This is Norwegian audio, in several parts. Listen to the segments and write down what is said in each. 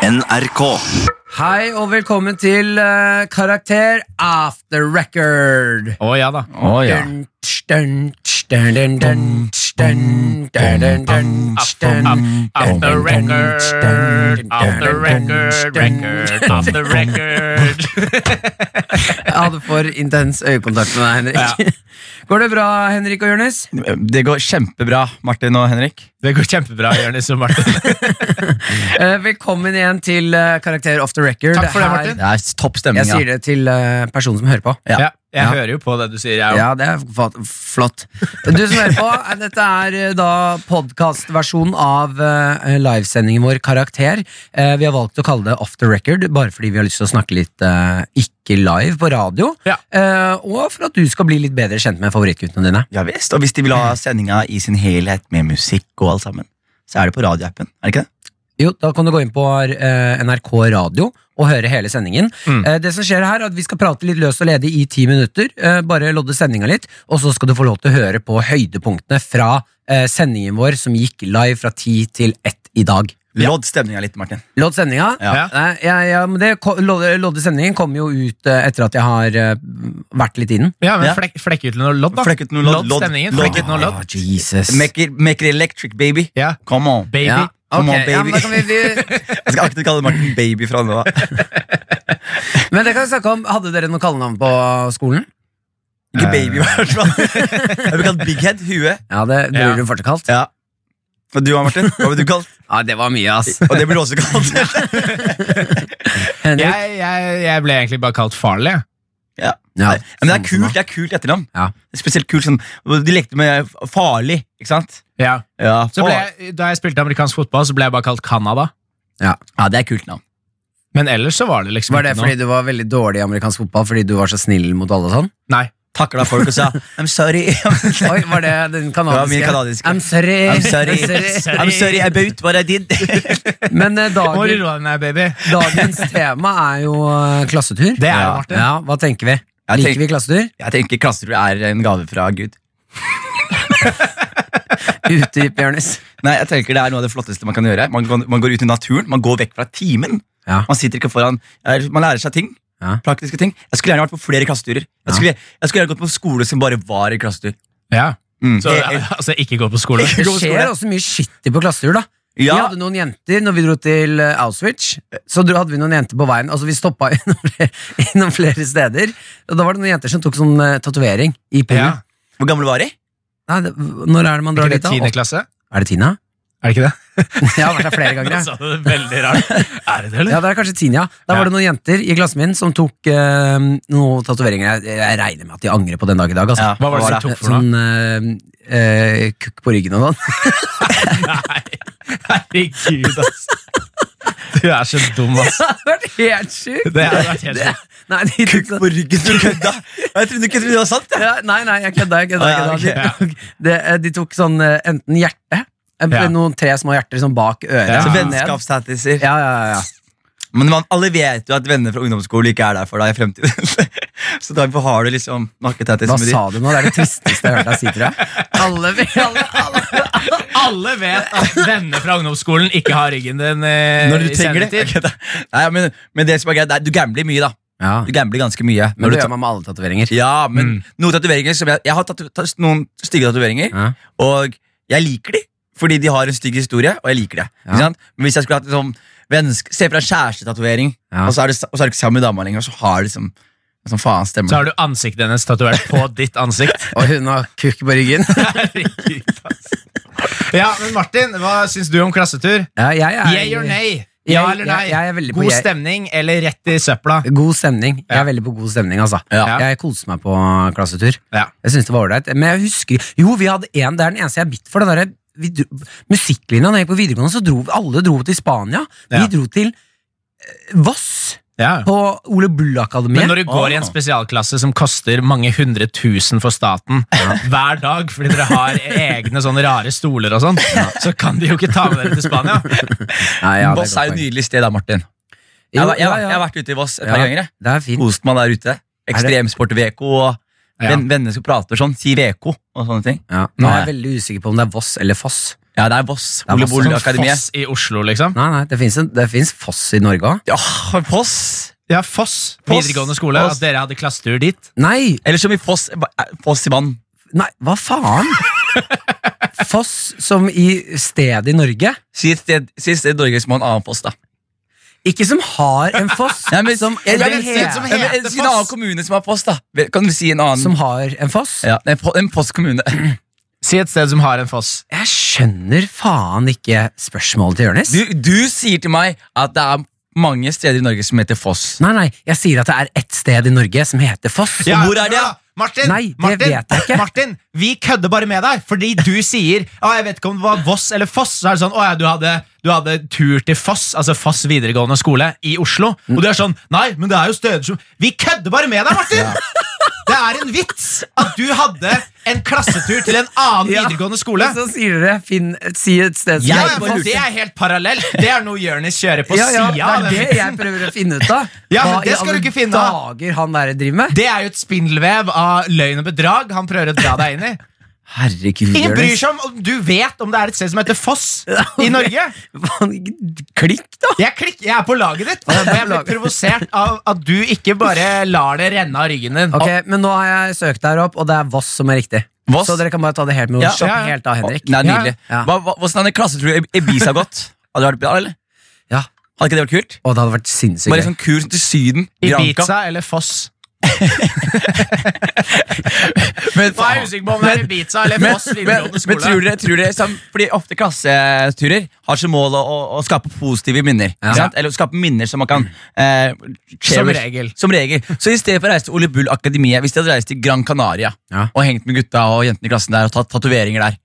NRK. Hei og velkommen til eh, Karakter after record. Å ja da. Dun, dun, dun, dun, dun, dun, dun, dun, dun, dun, dun. After record, after record, record, after record. Jeg hadde for intens øyekontakt med deg, Henrik. Går det bra, Henrik og Jonis? Det går kjempebra, Martin og Henrik. Det går kjempebra, Jonis og Martin. Eh, Velkommen igjen til eh, Karakter off the record. Takk for det, Her- Martin. Det er topp stemning. Jeg sier det til eh, personen som hører på. Ja. Ja, jeg Ja. hører jo på det du sier, jeg òg. Ja, det er fa- flott. Du som hører på, eh, dette er eh, da podkastversjonen av eh, livesendingen vår Karakter. Eh, vi har valgt å kalle det Off the Record, bare fordi vi har lyst til å snakke litt eh, ikke live på radio. Ja. Eh, og for at du skal bli litt bedre kjent med favorittguttene dine. Ja visst, Og hvis de vil ha sendinga i sin helhet med musikk og alt sammen, så er det på radioappen. er det ikke det? Jo, da kan du gå inn på eh, NRK Radio og høre hele sendingen. Mm. Eh, det som skjer her er at Vi skal prate litt løst og ledig i ti minutter. Eh, bare lodde sendinga litt, og så skal du få lov til å høre på høydepunktene fra eh, sendingen vår som gikk live fra ti til ett i dag. Lodd stemninga litt, Martin. Lodd sendinga? Ja. Nei, ja, ja, men det, ko- lodde, lodde sendingen kommer jo ut eh, etter at jeg har eh, vært litt i den. Ja, men Ja. flekk, flekk ut noe lodd, da. Flekk ut noe lodd, lodd, stemningen. lodd. Flekk ut noe lodd. Ah, Jesus. Make it, make it electric, baby. Ja, Come on. baby. Ja. Come Ok, on, ja, men, baby. da kan vi, vi, Jeg skal aktivt kalle Martin baby fra nå av. men det kan vi snakke om. Hadde dere noe kallenavn på skolen? Ikke baby, i hvert fall. Jeg blir kalt Big Head. Hue. Ja, det blir Ja. du fortsatt kalt. Ja. Og du, Martin? Hva ble du kalt? Ja, det var mye, ass. Og det blir du også kalt. Henrik? Jeg, jeg, jeg ble egentlig bare kalt farlig. jeg. Ja, Men det er sånn som kult det er kult etternavn. Ja. Det er Spesielt kult sånn De lekte med farlig, ikke sant? Ja. Ja, Så ble jeg, da jeg spilte amerikansk fotball, så ble jeg bare kalt Canada. ja det er kult navn. Men ellers så var det liksom Var det ikke fordi du var veldig dårlig i amerikansk fotball fordi du var så snill mot alle og sånn? Nei. Takla folk og sa 'I'm sorry'. Oi, var det den Det var min kanadiske? kanadiske. I'm sorry. I'm sorry. I'm sorry. I'm sorry about what I did. Men eh, Må du dagen, roe deg ned, baby. dagens tema er jo eh, klassetur. Det er det, Ja. Martin. Ja, hva tenker vi? Jeg Liker tenker- vi klassetur? Jeg tenker klassetur er en gave fra Gud. Utdyp, Jonis. Nei, jeg tenker Det er noe av det flotteste man kan gjøre. Man, går- man går ut i naturen, man går vekk fra timen. Ja. Man sitter ikke foran er- Man lærer seg ting. Ja. Praktiske ting. Jeg skulle gjerne vært på flere klasseturer. Jeg skulle, jeg skulle gjerne gått på skole som bare var en klassetur. Ja. Mm. Så altså, ikke gå på skole. Det Gå på skole. skjer også mye skittig på klassetur, da. eh, Vi ja, hadde noen jenter når vi dro til eh, Auschwitz. Så dro, hadde vi noen jenter på veien. Altså Vi stoppa innom flere, innom flere steder. Og da var det noen jenter som tok sånn uh, tatovering i Ja. pungen. hvor gammel var jeg? Nei, det, når er det man Er drar ikke det dit, da? tiende klasse? Er det tiende? Er det ikke det? Jeg har vært her flere ganger. Nå Jeg. sa du altså, det veldig rart. Er det det, eller? Ja, det er kanskje tiende, ja. Da Ja. var det noen jenter i klassen min som tok eh, noen tatoveringer. Jeg, jeg regner med at de angrer på den dag i dag. Altså. Ja, Hva var det som tok for noe? Sånn eh, eh, kukk på ryggen og sånn. Nei, herregud, ass. Du er så dum, ass. Det hadde vært helt sjukt! Det hadde vært helt Det- sjukt. Nei, de tok Kukk sånn- på ryggen, du kødda! Jeg trodde ikke trodde det var sant. jeg. ja, nei, nei, jeg kødda. Jeg kødda, Å, ja, jeg kødda. ok, De, tok, det, eh, de tok sånn eh, enten hjerte, eh, Ja. noen tre små hjerter sånn bak øret. Ja. Så ned. Vennskapstattiser. Ja, ja, ja, ja. Men man, alle vet jo at venner fra ungdomsskolen ikke er der for deg i fremtiden. så derfor har du liksom nakketattis Hva med de. sa du nå? Det er det tristeste jeg har hørt deg si, tror jeg. Alle, alle, alle. Alle vet at venner fra ungdomsskolen ikke har ryggen din. eh, Når du i trenger det. sendetid. Ok, da. Nei, men, men det som er greit, det er, du gambler mye, da. Ja, Du gambler ganske mye. men Når det du gjør tar, man Mm. med alle tatoveringer. ja, men noen tatoveringer som Jeg, jeg har tatu, tas- noen stygge tatoveringer, Ja. og jeg liker de fordi de har en stygg historie, og jeg liker det. Ja. Ikke sant? Men hvis jeg skulle hatt en sånn vennsk, Se for deg kjærestetatovering, Ja. og, så er det sa- og så er det ikke sammen med dama lenger, og så har det liksom sånn faen Så stemmer. har du ansiktet hennes tatovert på ditt ansikt. Og hun har kukk på ryggen. Herregud, ass. Ja, men Martin, hva syns du om klassetur? Ja, jeg er, Yeah or nay? Ja Jeg- eller nei? jeg- jeg er veldig på God jeg- stemning eller rett i søpla? God stemning. Jeg Ja. er veldig på god stemning, altså. Ja. Jeg koser meg på klassetur. Ja. Jeg synes det var ålreit. Men jeg husker Jo, vi hadde en, det er den eneste jeg er bitt for. Den derre- vi dro, musikklinja da jeg gikk på videregående, så dro vi- alle dro til Spania. Vi Ja. dro til eh, Voss, Ja. på Ole Bull-akademiet. Men når du går i en spesialklasse som koster mange hundre tusen for staten hver dag fordi dere har egne sånne rare stoler og sånn, så kan de jo ikke ta med dere til Spania. Nei, ja, det Voss er jo et godt poeng. nydelig sted, da, Martin. Jeg, Jo, har- jeg, ja, har- ja. jeg har vært ute i Voss et Ja. par ganger. jeg. Det er fint. Kost meg der ute. Ekstremsport VK og Ja. venn, venner som prater sånn. Si VK og sånne ting. Ja. Nå er jeg Nei. veldig usikker på om det er Voss eller Foss. Ja, det er Voss. er Ole Voss, Boll sånn Akademiet. Foss i Oslo, liksom? Nei, nei, det fins, en, det finnes Foss i Norge òg. Ja, Foss! Ja, Foss Foss. videregående skole. Foss. At dere hadde klassetur dit. Nei, Eller som i Foss, eh, Foss i vann. nei, hva faen? Foss som i stedet i Norge. Si et sted, si et sted i Norge som har en annen foss, da. Ikke som har en foss, Nei, men- som, Ja, men- det si et he- som Ja, men, heter si en annen Foss. kommune som har foss, da. Kan du si en annen som har en foss. ja, En, fo- en postkommune. Si et sted som har en foss. Jeg skjønner faen ikke spørsmålet til Jonis. Du, du sier til meg at det er mange steder i Norge som heter Foss. Nei, nei, jeg sier at det er ett sted i Norge som heter Foss. Ja, hvor er det, hør da? Martin, Nei, det Martin, vet jeg ikke. Martin, vi kødder bare med deg, fordi du sier «Å, jeg vet ikke om det var Voss eller Foss. Så er det sånn, å ja, du hadde, du hadde tur til Foss, altså Foss videregående skole i Oslo. Og du er sånn Nei, men det er jo steder som Vi kødder bare med deg, Martin! Det er en vits at du hadde en klassetur til en annen Ja, videregående skole. Og så sier dere finn, si et sted som Ja, Jeg ja, bare men Foss. Det er helt parallelt. Det er noe Jonis kjører på ja, ja, siden av det den er det jeg prøver å finne ut av. Ja, men Hva det i skal alle du ikke finne av. dager han der driver med. Det er jo et spindelvev av løgn og bedrag han prøver å dra deg inn i. Herregud, Ingen bryr Jonis. seg om om du vet om det er et sted som heter Foss i Norge. Faen, Klikk, da! Jeg, klikk, jeg er på laget ditt, og jeg blir provosert av at du ikke bare lar det renne av ryggen din. Ok, Men nå har jeg søkt der opp, og det er Voss som er riktig. Voss? Så dere kan bare ta det helt med Ja, ro. Slapp ja, ja. helt av, Henrik. Nei, nydelig. Ja. Hva, hva, hvordan hadde klassetur i Ibiza gått? Hadde det vært bra, eller? Ja. Hadde ikke det vært kult? Og det hadde vært sinnssykt Bare gøy. sånn kurs til Syden. Granca. Ibiza eller Foss? Men, Hva er jeg usikker på om det er Ibiza eller men, Foss men, videregående men tror skole? dere, tror dere som, Fordi ofte klasseturer har som mål å, å, å skape positive minner. Ja. ikke Sant? Eller skape minner som man kan eh, Mm. Som cherish. regel. Som regel. Så i stedet for å reise til Ole Bull Akademiet, hvis de hadde reist til Gran Canaria Ja. og hengt med gutta og jentene i klassen der og tatt tatoveringer der,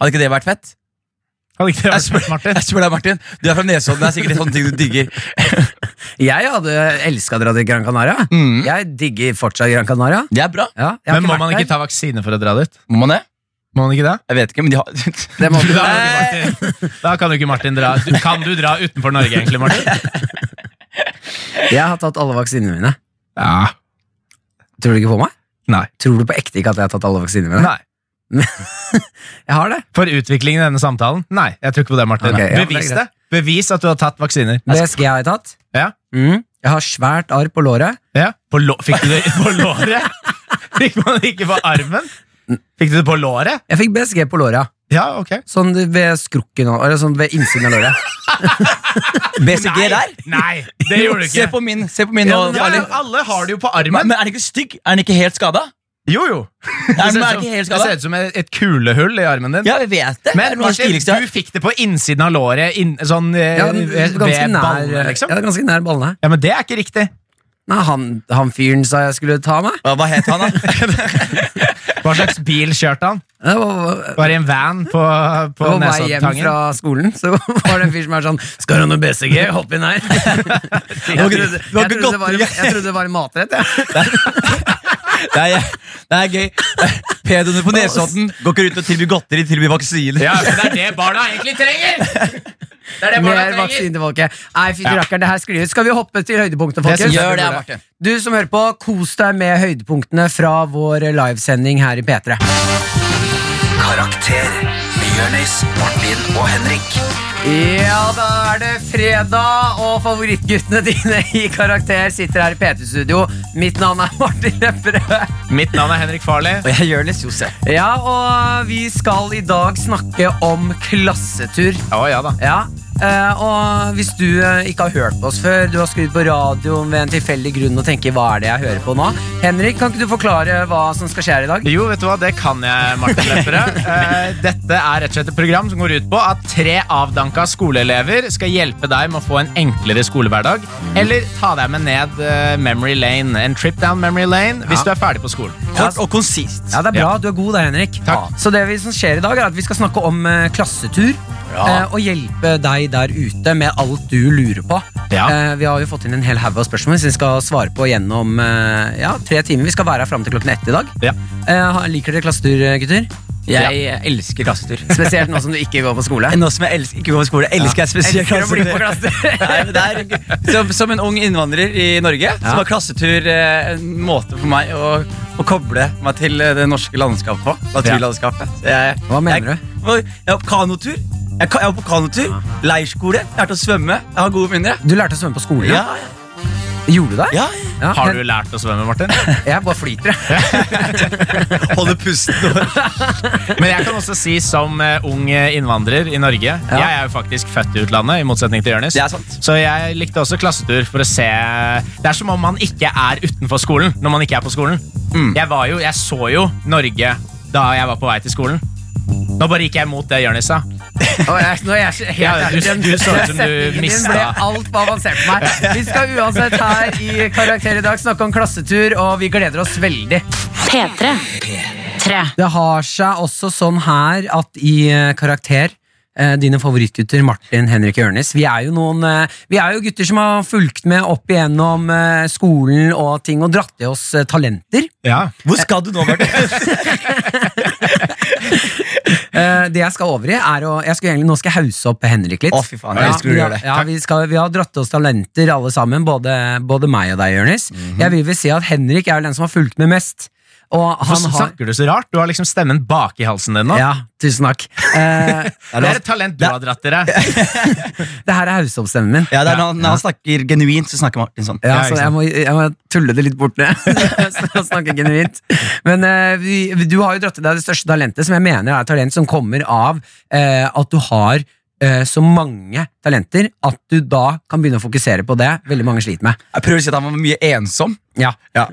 hadde ikke det vært fett? Hadde ikke det Jeg vært spør, spurt, Martin? jeg spør deg, Martin. Du er fra Nesodden. Det er sikkert sånne ting du digger. sånn- Jeg hadde elska å dra til Gran Canaria. Mm. Jeg digger fortsatt Gran Canaria. Det er bra. Ja, jeg har Men må man vært ikke ta vaksine for å dra dit? Må man det? Må man ikke det? Jeg vet ikke, men de har der. Det må Da, man- kan jo ikke Martin- da kan jo ikke Martin dra. Du, kan du dra utenfor Norge, egentlig, Martin? Jeg har tatt alle vaksinene mine. Ja. Tror du ikke på meg? Nei. Tror du på ekte ikke at jeg har tatt alle vaksinene mine? Nei. Jeg har det. For utviklingen i denne samtalen? Nei, jeg tror ikke på det, Martin. Ok, ja, men Bevis det er det. Bevis at du har tatt vaksiner. Det skal jeg ha tatt. Ja. Mm. Jeg har svært arr på låret. Ja. På lå Fikk du det på låret? Fikk man det ikke på armen? Fikk du det på låret? Jeg fikk BSG på låret. Ja, ok. Sånn ved skrukken og- eller sånn ved innsiden av låret. BCG der? Nei, det gjorde du Se ikke. på min, se på min Ja, nå. men- ja, Farlig. ja, alle har det jo på Men, armen. men er den ikke stygg? Er den ikke helt skada? Jo, jo. Nei, Det men ser er ut den ikke helt som, det ser skada? ut som et et kulehull i armen din. Ja, vi vet det. det Men er noe av det Martin, stiligste jeg har- du fikk det på innsiden av låret, inn, sånn eh, Ja, den- ved ganske ballene, nær, eh, liksom. ja, ganske nær ballene. Ja, men det er ikke riktig. Nei, han, han fyren sa jeg skulle ta meg. Hva- Hva het han, da? Hva slags bil kjørte han? Det var, Var det en van på, det på var vei hjem Nesoddtangen? fra skolen, så var det en fyr som er sånn Skal du ha noe BCG? Hopp inn her. Jeg var ikke- trodde, det var ikke jeg trodde, det, var, godteri. jeg trodde det var en matrett, jeg. Det er, det er gøy. Pedoene på Nesodden går ikke rundt og tilbyr godteri, tilbyr vaksiner. Ja, men det er det barna egentlig trenger! Det er det barna Mer trenger. vaksine til folket. Nei, fytti Ja. rakkeren, det her sklir ut. Skal vi hoppe til høydepunktene, Det folkens? synes jeg Gjør vi det, burde. Martin. Du som hører på, kos deg med høydepunktene fra vår livesending her i P3. Karakter med Jonis, Martin og Henrik. Ja, da er det fredag, og favorittguttene dine i karakter sitter her i PT-studio. Mitt navn er Martin Lepperød. Mitt navn er Henrik Farley. Og jeg gjør det, Josef. Ja, og vi skal i dag snakke om klassetur. Å ja da. Ja, eh, og hvis du eh, ikke har hørt på oss før, du har skrudd på radioen ved en tilfeldig grunn og tenker hva er det jeg hører på nå? Henrik, kan ikke du forklare hva som skal skje her i dag? Jo, vet du hva, det kan jeg, Martin Lepperød. Eh, Dette er rett og slett et program som går ut på at tre avdanka skoleelever skal hjelpe deg med å få en enklere skolehverdag, eller ta deg med ned eh, memory lane, en trip down memory lane, hvis du er ferdig på skolen. Kort og konsist. Ja, det er bra. Du er god der, Henrik. Takk. Ja. Så det vi som skjer i dag, er at vi skal snakke om eh, klassetur. Ja. eh, og hjelpe deg der ute med alt du lurer på. Ja. Eh, vi har jo fått inn en hel haug av spørsmål som vi skal svare på gjennom eh, ja, tre timer. Vi skal være her fram til klokken ett i dag. Ja. Eh, ha- liker dere klassetur, eh, gutter? Jeg elsker klassetur. Spesielt nå som du ikke går på skole. Nå som jeg elsker, ikke går på skole, elsker jeg spesielt Elsker å bli på klassetur. klassetur. Nei, men det er gøy. Som, som en ung innvandrer i Norge Så var klassetur eh, en måte for meg å, å koble meg til eh, det norske landskapet på. Naturlandskapet. Så jeg- Hva mener jeg- du? på, jeg var på kanotur. Jeg, ka- jeg var på kanotur. Leirskole. Jeg lærte å svømme. Jeg har gode minner. jeg. Du lærte å svømme på skolen? Ja, Gjorde du det? ja. Ja, Har du lært å svømme, Martin? Jeg, jeg bare flyter, jeg. Holde pusten. Men jeg kan også si som eh, ung innvandrer i Norge Jeg er jo faktisk født i utlandet, i motsetning til Jonis. Det er sant. Så jeg likte også klassetur for å se Det er som om man ikke er utenfor skolen når man ikke er på skolen. Jeg, var jo, jeg så jo Norge da jeg var på vei til skolen. Nå bare gikk jeg imot det Jonis sa. Og jeg, nå er jeg så- helt Ja, du- ærlig, den- du så ut som du setningen din mistet. ble alt for avansert for meg. Vi skal uansett her i Karakter i dag snakke om klassetur, og vi gleder oss veldig. P3. P3. Det har seg også sånn her at i eh, Karakter eh, dine favorittgutter Martin, Henrik og Jørnis. Vi er jo noen eh, Vi er jo gutter som har fulgt med opp igjennom eh, skolen og ting, og dratt i oss eh, talenter. Hvor skal du nå, Martin? Eh, det jeg skal over i, er å jeg skal egentlig, Nå skal jeg hause opp Henrik litt. Å, fy faen, jeg elsker når du vi, gjør det. ja, vi, skal, vi har dratt oss talenter, alle sammen. Både, både meg og deg, Jonis. Mhm. Jeg vil vel si at Henrik er vel den som har fulgt med mest. Og han Hvorfor har snakker du så rart? Du har liksom stemmen bak i halsen din nå. Ja, tusen takk. Eh, Det er et talent du har dratt dere. det her er hauseoppstemmen min. Ja, det er når, han- når han snakker genuint, så snakker Martin sånn. Ja, Ja, så ikke sant. jeg må, jeg må tulle det litt bort ned. Så snakke genuint. Men eh, vi, du har jo dratt til deg det største talentet, som jeg mener er et talent som kommer av eh, at du har eh, så mange talenter at du da kan begynne å fokusere på det veldig mange sliter med. Jeg prøver å si at han var mye ensom. Ja. Ja.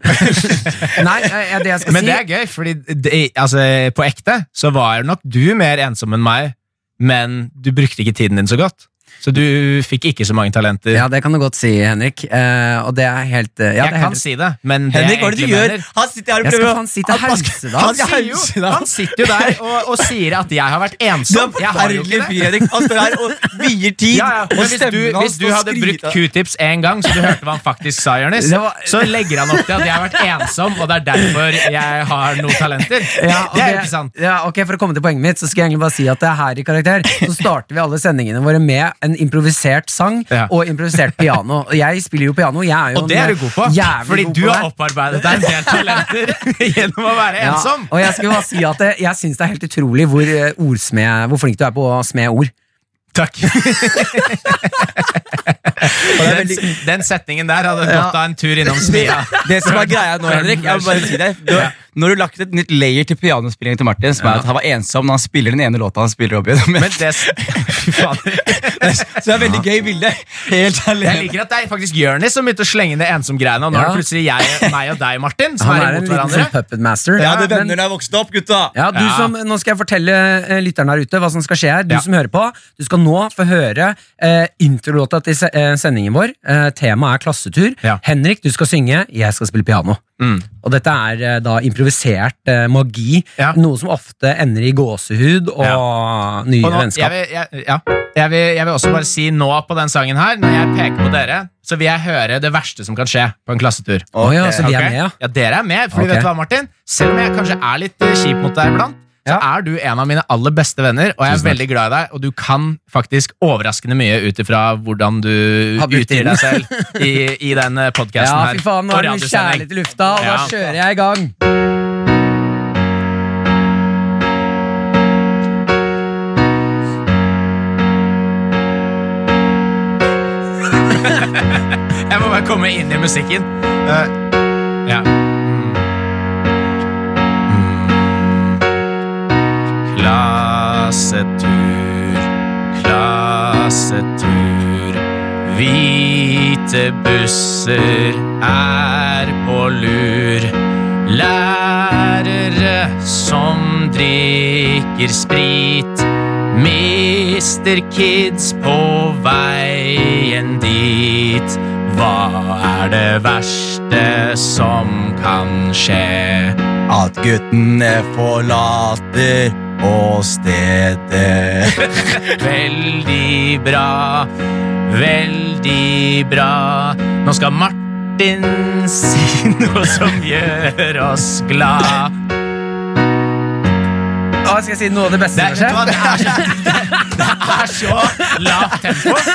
Nei, eh, det jeg skal Men si det er gøy, fordi det, altså, på ekte så var nok du mer ensom enn meg, men du brukte ikke tiden din så godt. Så du fikk ikke så mange talenter. Ja, det kan du godt si, Henrik. Eh, og det er helt eh, ja, jeg det er kan helt, si det, men det Henrik, hva er det du egentlig gjør? mener- Han sitter her og Jeg skal prøver å- faen si til Han- han- helse, da. han Han sier sier jo- Han sitter jo der og, og sier at jeg har vært Du er ensom. en Jeg har Sånn jo forferdelig Altså, ikke det. fyr, Henrik. Han står her og vier tid. Ja, ja. Og Men hvis du, stemmen hvis hans du og hadde brukt skryter. q-tips én gang, så du hørte hva han faktisk sa, Jonis, Det var- så legger han opp til at jeg har vært ensom, og det er derfor jeg har noen talenter. ja, og det er jo ikke sant. Ja, ok, For å komme til poenget mitt, så skal jeg egentlig bare si at det er her i Karakter så starter vi alle sendingene våre med en improvisert sang Ja. og improvisert piano. Og Jeg spiller jo piano. Jeg er jo eh, Og det er du god på, fordi du har opp opparbeidet deg en del talenter gjennom å være ja, ensom. og jeg skulle bare si at det, jeg syns det er helt utrolig hvor, eh, ordsmed, hvor flink du er på å smed ord. Takk. den, den setningen der hadde Ja. gått av en tur innom smia. Det som er greia nå, Henrik jeg må bare si deg du, Nå har du lagt et nytt layer til pianospillingen til Martin, som er at han var ensom når han spiller den ene låta han spiller opp igjen. Men det, fy fader. så det er veldig gøy bilde. Helt Jeg alene. liker at det er faktisk Jonis som begynte å slenge inn det ensom-greiene. Og nå er Ja. det plutselig jeg, meg og deg, Martin, som Han er er en imot liten sånn hverandre. puppet master. Jeg hadde men- venner da jeg vokste opp, gutta. Ja, du Ja. Som, nå skal jeg fortelle eh, lytteren her ute hva som skal skje her. Du Ja. som hører på, du skal nå få høre eh, introlåta til se eh, sendingen vår. Eh, temaet er klassetur. Ja. Mm. Henrik, du skal synge. Jeg skal spille piano. Og dette er eh, da improvisert eh, magi. Ja. Noe som ofte ender i gåsehud og nye Og nå, jeg, vennskap. vil, jeg, ja, jeg, vil, jeg vil også bare si nå på den sangen her, når jeg peker på dere, så vil jeg høre det verste som kan skje på en klassetur. Å ja, så vi er Ok? med, ja. dere er med, for Ok. vet du hva, Martin? Selv om jeg kanskje er litt eh, kjip mot deg iblant, så er du en av mine aller beste venner, og jeg er Tusen takk. veldig glad i deg, og du kan faktisk overraskende mye ut ifra hvordan du Har brukt utgir tiden. deg selv i, i den eh, podcasten Ja, her. fy faen, nå og er det mye radiosending. kjærlighet i lufta, og da Ja. kjører jeg i gang. Jeg må bare komme inn i musikken. Eh, ja. Mm. Klassetur, klassetur. Hvite busser er på lur. Lærere som drikker sprit. Mister kids på veien dit. Hva er det verste som kan skje? At guttene forlater og stedet. Veldig bra, veldig bra. Nå skal Martin si noe som gjør oss glad. Å, skal jeg si noe av det beste Det, som vet du hva, skjer? det, er, så- det er så lavt tempo.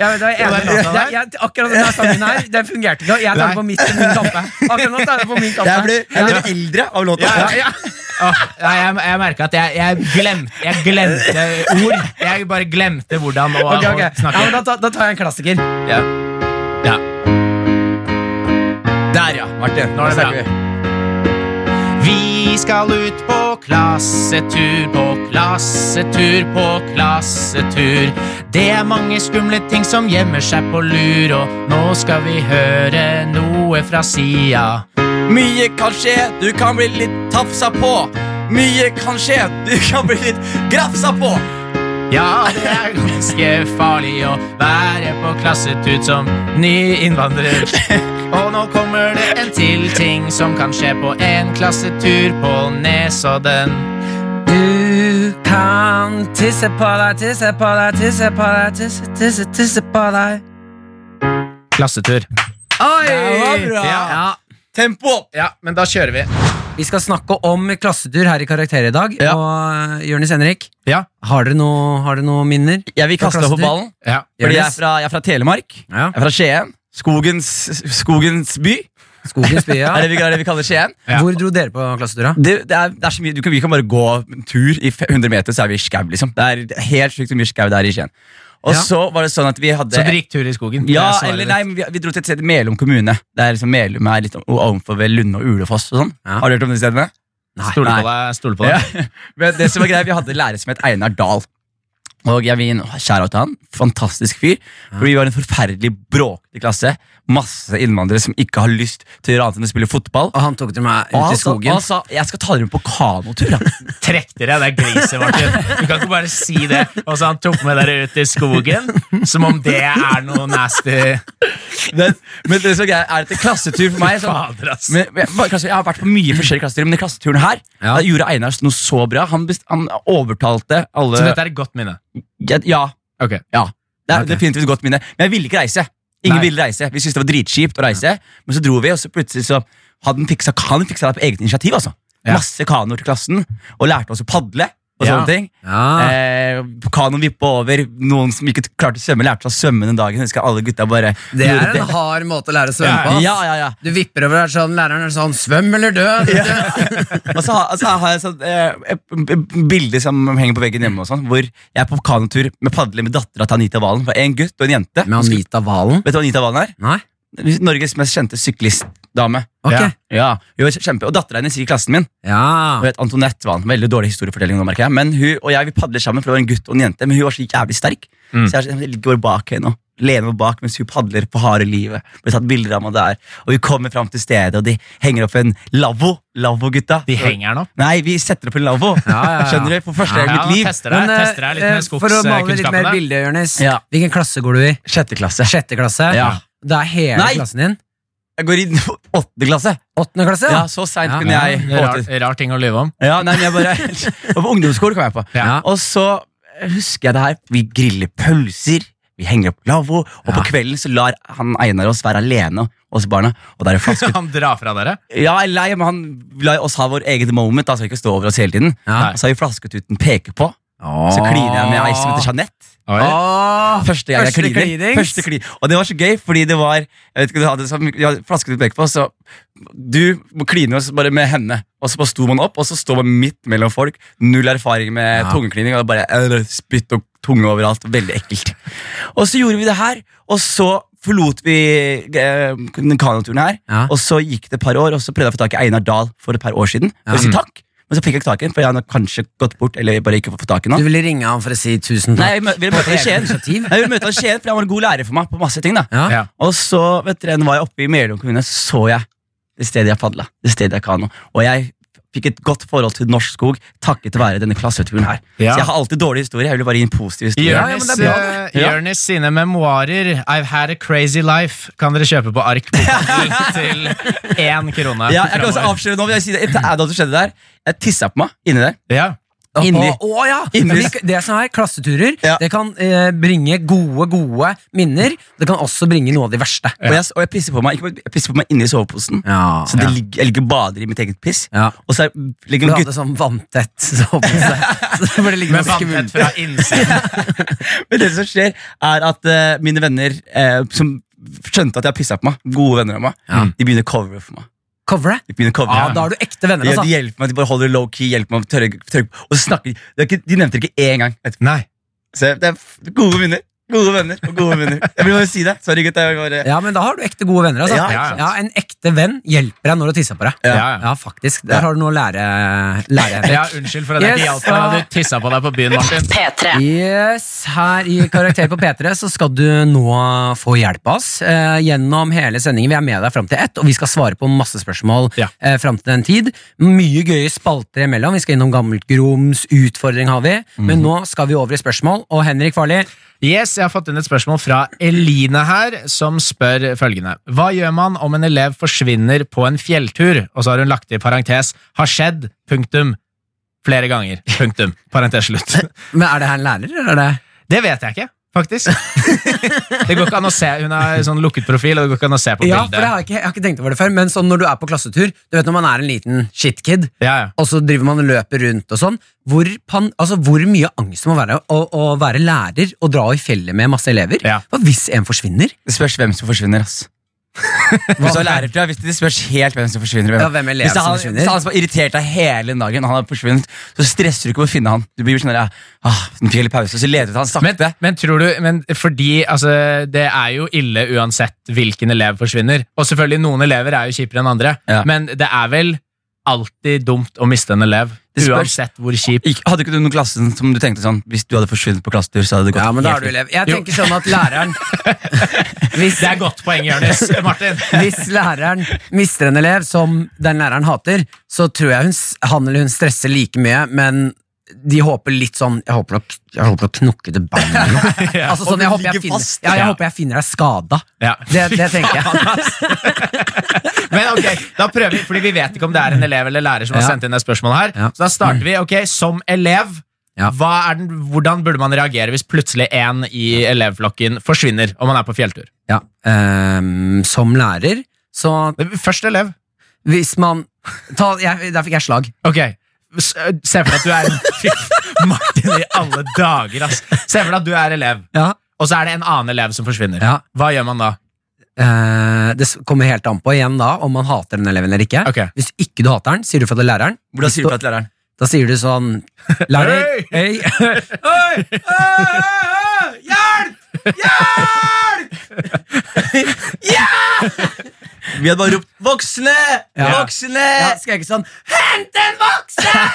Ja, Det er så lavt tempo. jeg vet, jeg er Og enig. den låta Jeg- jeg- Akkurat denne sangen her, den fungerte ikke. og Jeg tar Nei. det på mitt min kappe. Akkurat nå tar jeg det på min kappe. Jeg blir, jeg blir eldre av låta. Ja, ja, ja. Åh, nei, jeg jeg merka at jeg, jeg, glemte, jeg glemte ord. Jeg bare glemte hvordan å, Ok, ok. å Ja, snakke. men da, ta- da tar jeg en klassiker. Ja. Ja. Der, ja, Martin. Nå er det snakker bra. vi. Vi skal ut på klassetur, på klassetur, på klassetur. Det er mange skumle ting som gjemmer seg på lur, og nå skal vi høre noe fra sida. Mye kan skje, du kan bli litt tafsa på. Mye kan skje, du kan bli litt grafsa på. Ja, det er ganske farlig å være på klassetut som ny innvandrer. Og nå kommer det en til ting som kan skje på en klassetur på Nesodden. Du kan tisse på deg, tisse på deg, tisse på deg, tisse, tisse, tisse på deg. Klassetur. Oi! Det var bra. Ja. Tempo opp! Ja, men da kjører vi. Vi skal snakke om klassetur her i Karakter i dag. Ja. Og eh, Jonis Henrik, Ja. har dere noe, har dere noe minner? Jeg vil kaste Fra opp på klassetur? ballen. Ja. Fordi jeg er, Jonas? fra, jeg er fra Telemark. Ja. Jeg er fra Skien. Skogens, skogens by. Skogens by, ja. Er det vi, er det vi kaller Skien. Ja. Hvor dro dere på klassetur, da? Det, det er, det er så mye, du kan, vi kan bare gå en tur i fe- 100 meter, så er vi i skau. Liksom. Det er helt sykt hvor mye skau det er i Skien. Og Ja. så var det sånn at vi hadde Så dere gikk tur i Ja, skogen? Det er svaret eller ditt. nei, men vi, vi dro til et sted i Melum kommune. Det er liksom Melum er litt o- ovenfor ved Lunde og Ulefoss og sånn. Ja. Har du hørt om de stedene? Stole på deg. Stole på Ja. deg. Men det som var greia, Vi hadde en lærer som het Einar Dahl. Og jeg vil skjære av til han. Fantastisk fyr. For vi var en forferdelig bråkete klasse. Masse innvandrere som ikke har lyst til å gjøre annet enn å spille fotball. Og han tok dere Og med ut Ah, han i sa, og han skogen. sa jeg skal ta dere med på kanotur. da." Trekk dere, det er griser, Martin. Du kan ikke bare si det. Og så han tok med dere ut i skogen, som om det er noe nasty. Men, men det som er greia, er at det er klassetur for meg. Sånn, Fader, ass. Men, men, bare klasse, jeg har vært på mye forskjellige klasseturer, men i klasseturen her Ja. da gjorde Einar noe så bra. Han, best, han overtalte alle Så dette er et godt minne. Ja, Ja. Ok. ja. Det er Ok. definitivt et godt minne. Men jeg ville ikke reise. Ingen Nei. ville reise. Vi syntes det var dritkjipt å reise, men så dro vi, og så plutselig så hadde han fiksa, han fiksa det på eget initiativ. altså. Ja. Masse kanoer til klassen, og lærte oss å padle. og Ja. sånne ting. Ja. Ah. Eh, Kanoen vippa over. Noen som ikke klarte å svømme, lærte seg å svømme den dagen. Jeg husker alle gutta bare Det gjorde er en hard måte å lære å svømme på. ass. Ja, ja, ja. Du vipper over der sånn, læreren er sånn 'svøm eller dø'. vet du. Og så har, så har jeg sånn, eh, et et bilde som henger på veggen hjemme, og sånn, hvor jeg er på kanotur med padler med dattera til Anita Valen. For en gutt og en jente. Med Anita Valen? Vet du hva Anita Valen er? Nei? Norges mest kjente syklistdame. Ok. Ja. Ja, hun er kjempe, Og dattera hennes gikk i klassen min. Ja. Hun het Antoinette Valen. Veldig dårlig historiefortelling. nå merker jeg Men hun og jeg vi padler sammen, for det var en gutt og en jente. Men hun var så jævlig sterk. Mm. Så jeg, jeg ligger bare bak henne og lener meg bak mens hun padler på harde livet. Ble tatt bilder av meg der Og vi kommer fram til stedet, og de henger opp en lavvo. Lavvo-gutta. De henger den opp. Nei, vi setter opp en lavvo. ja, ja. Skjønner du? For første gang i Ja, mitt liv. tester deg, Men, eh, tester deg litt eh, med for å male litt mer skogskunnskapene. bilde, Jonis. Ja. Hvilken klasse går du i? Sjette klasse. Sjette klasse? Ja. Det er hele Nei. klassen din? Jeg går i åttende klasse. Åttende klasse? Ja, Ja. så seint Ja. kunne jeg Det er rar, rar ting å lyve om. Ja, nei, men jeg bare Og på ungdomsskolen kom jeg på. Ja. Og så eh, husker jeg det her. Vi griller pølser, vi henger opp lavvo, og på Ja. kvelden så lar han Einar oss være alene, oss barna. Og der er flaske. Så han drar fra dere? Ja, jeg er lei, men han lar oss ha vår eget moment. Da skal vi ikke stå over oss hele tiden. Ja. Og Så har vi flasketuten peker på. Så kliner jeg med ei som heter Jeanette. Oi. Åh, Første gang jeg Første kliner. klinings. Første klin- Og det var så gøy, fordi det var Jeg vet ikke, du hadde sånn, ja, flasket du pekte på, så Du kliner oss bare med henne, og så bare sto man opp, og så står man midt mellom folk. Null erfaring med Ja. tungeklining, og det bare øh, spytt og tunge overalt. Veldig ekkelt. Og så gjorde vi det her, og så forlot vi eh, den kanoturen her. Ja. Og så gikk det et par år, og så prøvde jeg å få tak i Einar Dahl for et par år siden. For å si takk Men så fikk jeg ikke tak i ham, for han har kanskje gått bort. Eller bare ikke fått tak i ham. Du ville ringe han for å si tusen Nei, takk? jeg mø- ville møte han i På eget Skien. initiativ? Jeg ville møte han i Skien, for han var en god lærer for meg på masse ting. da Ja. Ja. Og så vet dere, nå var jeg oppe i Melum kommune, så så jeg det stedet jeg padla. Det stedet jeg kano. Og jeg fikk et godt forhold til norsk skog takket være denne klasseturen her. Ja. Så jeg har alltid dårlige historier. Jeg vil bare gi en positiv historie. Ja, ja, men Jørnis det er bra, eh, Ja. Jørnis sine memoarer I've had a crazy life kan dere kjøpe på ark på Kindle til én krone. Ja, jeg kan også fremover. avsløre nå, vil jeg si det, etter at det skjedde der, jeg tissa på meg inni der. ja. Inni. Å, å, ja. Inni. Vi- Det som er klasseturer, Ja. det kan eh, bringe gode, gode minner. Det kan også bringe noe av de verste. Og jeg, og jeg pisser på meg ikke, bare- jeg pisser på meg inni soveposen. Ja. Så det ligger, jeg ligger og bader i mitt eget piss. Ja. Og så er- ligger Du en gutt hadde sånn vanntett sovepose. Så det ble liggende Med og skvulte. vanntett fra innsiden. Men det som skjer, er at eh, mine venner eh, som skjønte at jeg pissa på meg, gode venner av meg, Ja. de begynner å covere for meg. Covre det? Begynner å covre. Ja, da har du ekte venner, Ja, altså. de hjelper meg, de bare holder low key, hjelper meg å tørre, tørre Og så snakker de det er ikke, De nevnte det ikke én gang. etterpå. Nei. Så det er f- gode venner. Gode venner og gode venner. Jeg vil bare si det. Sorry, gutt. Jeg bare, Ja, men da har du ekte gode venner. Altså. Ja, ja, ikke sant. En ekte venn hjelper deg når du tisser på deg. Ja, ja. faktisk. Der har du noe å lære. lære Henrik. Ja, Unnskyld for at jeg Yes, ikke hjalp deg da da- du tissa på deg på byen, Martin. P3. Yes, Her i Karakter på P3 så skal du nå få hjelp av oss. Eh, gjennom hele sendingen. Vi er med deg fram til ett, og vi skal svare på masse spørsmål Ja. eh, fram til den tid. Mye gøye spalter imellom. Vi skal innom Gammelt Groms utfordring, har vi. Men Mhm. nå skal vi over i spørsmål. Og Henrik Farli, Yes, Jeg har fått inn et spørsmål fra Eline her, som spør følgende. Hva gjør man om en elev forsvinner på en fjelltur? Og så har hun lagt i parentes 'har skjedd', punktum. Flere ganger, punktum. Parentes slutt. men er det her en lærer, eller er det Det vet jeg ikke, faktisk. Det går ikke an å se, Hun har sånn lukket profil, og det går ikke an å se på Ja, for bildet. jeg har, ikke, jeg har ikke tenkt over det før, men sånn når du er på klassetur Du vet når man er en liten shitkid, Ja, ja. og så driver man og løper rundt og sånn. Hvor, pan, altså, hvor mye angst det må være å, å være lærer og dra i fjellet med masse elever? Ja. Hva hvis en forsvinner? Det spørs hvem som forsvinner. ass Hvis du er lærer, tror jeg, hvis det det spørs helt hvem som forsvinner. Ja, hvem elev hvis det er som han, forsvinner? Hvis det er han som har irritert deg hele dagen, og han har forsvunnet, så stresser du ikke med å finne han. Du blir sånn der, ja, ah, den fikk litt pause, så leder du til han Men, sakte. men tror du men Fordi altså, det er jo ille uansett hvilken elev forsvinner. Og selvfølgelig, noen elever er jo kjipere enn andre, Ja. men det er vel alltid dumt å miste en elev. Det spørs. Uansett hvor kjip. Ikke- hadde ikke du noen klasse som du tenkte sånn Hvis du hadde forsvunnet på klassetur, så hadde det gått Ja, men da helt er du fint? elev. Jeg Jo. tenker sånn at læreren hvis, Det er godt poeng, Jonis. Martin. hvis læreren mister en elev som den læreren hater, så tror jeg hun, s- han eller hun stresser like mye, men de håper litt sånn Jeg håper nok, jeg håper nok knokkete bein eller noe. Altså, sånn, jeg, håper jeg, finner, ja, jeg håper jeg finner deg skada. Ja. Det, det tenker jeg. Men ok, da prøver vi, fordi vi vet ikke om det er en elev eller lærer som har Ja. sendt inn det spørsmålet her. Ja. Så da starter vi. ok, Som elev, Ja. hva er den, hvordan burde man reagere hvis plutselig en i elevflokken forsvinner om man er på fjelltur? Ja, ehm, som lærer, så Først elev. hvis man ta, jeg, Der fikk jeg slag. Ok, s- øh, se for deg at du er Fy, Martin i alle dager, ass. Se for deg at du er elev, Ja. og så er det en annen elev som forsvinner. Ja. Hva gjør man da? Eh, det s- kommer helt an på igjen da om man hater den eleven eller ikke. Ok. Hvis ikke du hater den, sier du fra til læreren. Hvordan sier du fra til læreren? Da sier du sånn Lærer, hei! Vi hadde bare ropt 'voksne! Ja. Voksne!' Ja, skal jeg ikke sånn Hent en voksen!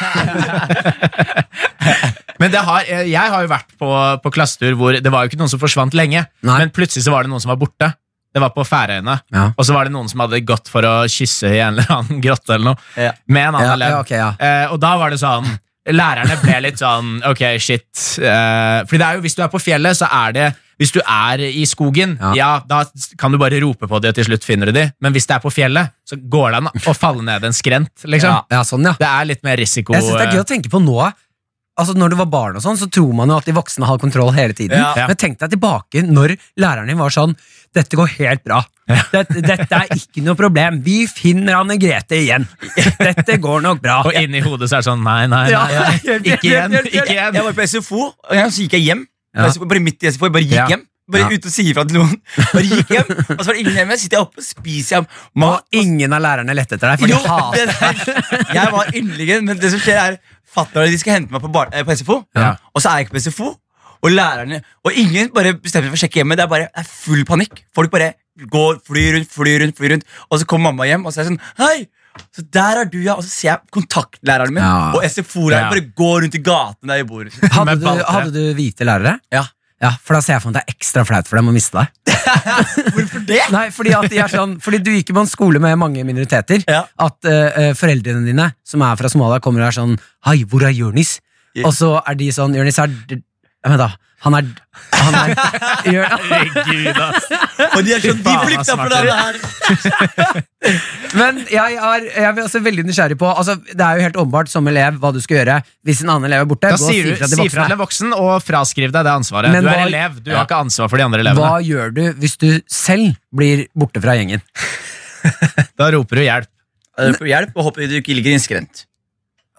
Men det har, eh, Jeg har jo vært på, på klassetur hvor det var jo ikke noen som forsvant lenge, Nei. men plutselig så var det noen som var borte. Det var på Færøyene, Ja. og så var det noen som hadde gått for å kysse i en eller annen grotte eller noe, Ja. med en annen Ja, elev. ja, ok, ja. Eh, og da var det sånn Lærerne ble litt sånn Ok, shit. Eh, fordi det er jo, hvis du er på fjellet, så er det Hvis du er i skogen, Ja. ja, da s- kan du bare rope på de, og til slutt finner du de. Men hvis det er på fjellet, så går det an å falle ned en skrent, liksom. Ja, ja, sånn, ja. Det er litt mer risiko. Jeg synes det er gøy eh, å tenke på nå. Altså Når du var barn, og sånn Så tror man jo at de voksne har kontroll hele tiden. Ja. Men tenk deg tilbake når læreren din var sånn Dette går helt bra. Dette, dette er ikke noe problem. Vi finner Anne Grete igjen. Dette går nok bra. eh, Og inni hodet så er det sånn Nei, nei, Ja. nei. nei. Hjelp, hjelp, Ikke igjen. hjelp, hjelp. Ikke igjen. Jeg var på SFO, og jeg- så gikk jeg hjem. Ja. Jeg var Bare midt i SFO, jeg bare gikk Ja. hjem. Bare Ja. ute og sier fra til noen. Bare gikk hjem, Og så var det ingen hjemme. Sitter jeg oppe og spiser jeg mat. Og ingen av lærerne lette etter deg. For Jo, de hater det der, jeg var yndlingen, men det som skjer, er fatter'n og de skal hente meg på, bar, eh, på SFO, Ja. og så er jeg ikke på SFO. Og lærerne Og ingen bare bestemmer seg for å sjekke hjemme. Det er bare det er full panikk. Folk bare går, flyr rundt, flyr rundt, flyr rundt. Og så kommer mamma hjem, og så er jeg sånn Hei! Så der er du, ja. Og så ser jeg kontaktlæreren min Ja. og SFO-læreren Ja. bare går rundt i gaten der jeg bor. hadde Med du, balte. hadde du hvite lærere? Ja. Ja, For da ser jeg for meg at det er ekstra flaut for dem å miste deg. Hvorfor det? Nei, fordi, at de er sånn, fordi du gikk jo på en skole med mange minoriteter. Ja. At eh, eh, foreldrene dine, som er fra Somalia, kommer og er sånn Hei, hvor er Jonis? Ja. Og så er de sånn Jonis er d- Ja, Men da, han er, han er Jør- Herregud, ass. Og de er sånn, de faen, ass, flykta fra det Martin. her. Men jeg er, jeg er også veldig nysgjerrig på altså, Det er jo helt åpenbart som elev hva du skal gjøre hvis en annen elev er borte. Da Gå og sier si du fra til si fra voksne. til voksen og fraskriv deg det ansvaret. Men du er hva- elev, du Ja. har ikke ansvar for de andre elevene. Hva gjør du hvis du selv blir borte fra gjengen? Da roper du hjelp. Eh, for Hjelp, og håper du ikke ligger i en skrent.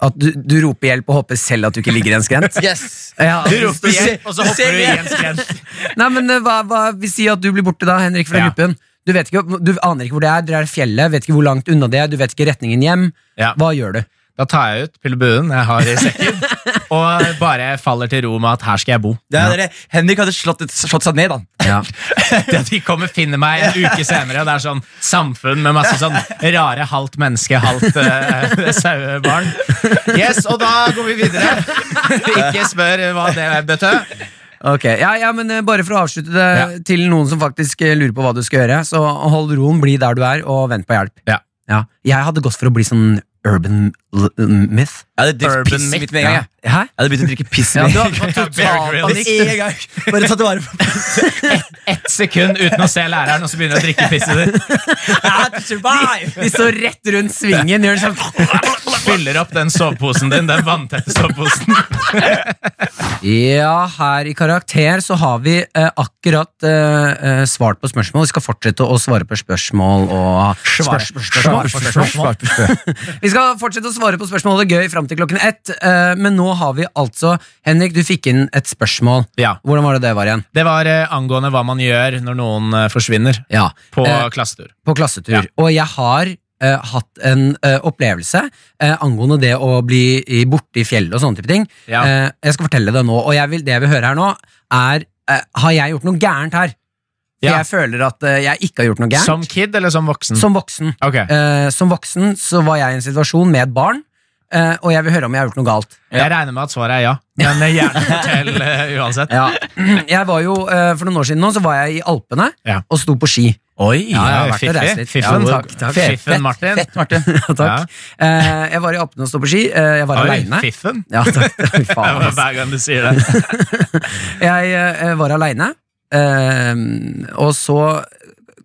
At du, du roper hjelp og håper selv at du ikke ligger i en skrent? Yes. Ja, Du hvis- roper ser- hjelp, og så du ser hopper du i det. en skrent. Nei, men eh, hva, hva, Vi sier at du blir borte da, Henrik fra Ja. gruppen. Du, vet ikke, du aner ikke hvor det er, dere er i fjellet, vet ikke hvor langt unna det er, du vet ikke retningen hjem. Ja. Hva gjør du? Da tar jeg ut pillebuen jeg har i sekken, og bare faller til ro med at her skal jeg bo. Det er, dere- Henrik hadde slått, slått seg ned, da. Det at de kommer og finner meg en uke senere, og det er sånn samfunn med masse sånn rare halvt menneske, halvt eh, sauebarn. Yes, og da går vi videre. Ikke spør hva det betød. Ok, ja, ja, men eh, Bare for å avslutte det til noen som faktisk eh, lurer på hva du skal gjøre, så hold roen, bli der du er, og vent på hjelp. Ja. Ja. Jeg hadde gått for å bli sånn urban l- myth. Jeg hadde Urban drukket piss myth, mitt med en gang. ja. jeg. Jeg hadde begynt å drikke piss med en gang. Med en gang. Bare tatt vare på Ett sekund uten å se læreren, og så begynner du å drikke pisset ditt. De står rett rundt svingen, gjør det sånn Fyller opp den soveposen din, den vanntette soveposen. Ja, her i Karakter så har vi eh, akkurat eh, eh, svart på spørsmål. Vi skal fortsette å svare på spørsmål og spørs- spørsmål. Svart på Vi skal fortsette å svare på spørsmålet gøy fram til klokken ett. eh, men nå har vi altså Henrik, du fikk inn et spørsmål. Ja, Hvordan var det det var igjen? Det var eh, angående hva man gjør når noen eh, forsvinner Ja, på eh, klassetur. på klassetur. Ja. Og jeg har eh, hatt en eh, opplevelse eh, angående det å bli i- borte i fjellet og sånne type ting. Ja. Eh, jeg skal fortelle det nå, og jeg vil, det jeg vil høre her nå, er eh, Har jeg gjort noe gærent her? For Ja. jeg føler at eh, jeg ikke har gjort noe gærent. Som kid eller som voksen? Som voksen. Ok. Eh, som voksen så var jeg i en situasjon med et barn, eh, og jeg vil høre om jeg har gjort noe galt. Jeg regner med at svaret er ja, men eh, gjerne fortell eh, uansett. Ja. Jeg var jo, eh, For noen år siden nå så var jeg i Alpene Ja. og sto på ski. Oi, Ja, jeg har vært og reist litt. Fiffen, Ja, takk, takk. Fett, Fiffen Martin. fett, Martin. Ja, takk. Eh, jeg var i Alpene og sto på ski. Eh, jeg var Oi, aleine. Fiffen. Ja, takk. Fy Det faen, var ass. hver gang du sier det. Jeg eh, var aleine, eh, og så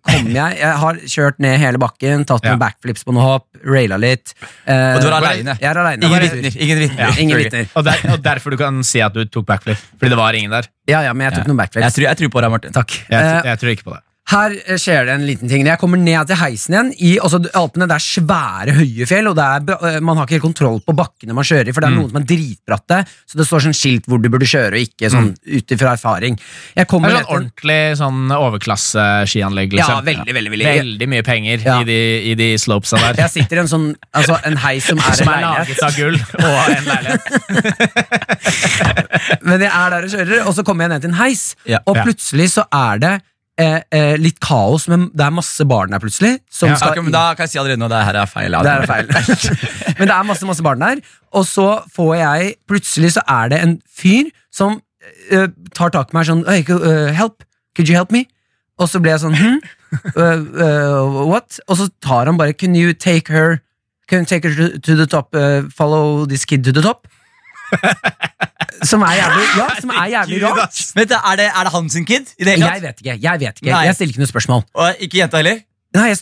kom jeg Jeg har kjørt ned hele bakken, tatt Ja. noen backflips på noen hopp, raila litt. Eh, Og du var aleine. Jeg er aleine. Ingen vitner. Ingen vitner. Ingen vitner. Og, der, og derfor du kan si at du tok backflip. Fordi det var ingen der. Ja, ja, men jeg tok noen Jeg backflips. tror, jeg tror på deg, Martin. Takk. Jeg, Eh, tr- jeg tror ikke på det. Her eh, skjer det en liten ting. Når jeg kommer ned til heisen igjen i altså, Alpene det er svære, høye fjell, og det er, bra- eh, man har ikke helt kontroll på bakkene man kjører i, for det er noen som er dritbratte, så det står sånn skilt hvor du burde kjøre, og ikke sånn ut ifra erfaring. Jeg Det kommer er ned sånn til ordentlig sånn overklasse-skianlegg. Ja, Liksom. veldig, veldig, veldig. Veldig mye penger Ja. i, de, i de slopesa der. Jeg sitter i en sånn altså, en heis som er Som en er leilighet, laget av gull og en leilighet. men jeg er der og kjører, og så kommer jeg ned til en heis, Ja. og Ja. plutselig så er det eh, eh, litt kaos, men det er masse barn der plutselig, som Ja, skal Ok, men da kan jeg si allerede nå det her er feil. Det er feil. Men det er masse, masse barn der. Og så får jeg Plutselig så er det en fyr som eh, tar tak i meg sånn «Hey, could, eh, Help! Could you help me? Og så ble jeg sånn hm? Eh, eh, What? Og så tar han bare Can you take her Can you take her to- to the top eh, Follow this kid to the top? Som er jævlig Ja, som er jævlig Gud, rart. ass. Vent, da, er, det, er det han sin kid? I det hele Jeg tatt? vet ikke. Jeg vet ikke Nei. Jeg stiller ikke noe spørsmål. Og ikke jenta heller? Nei, jeg,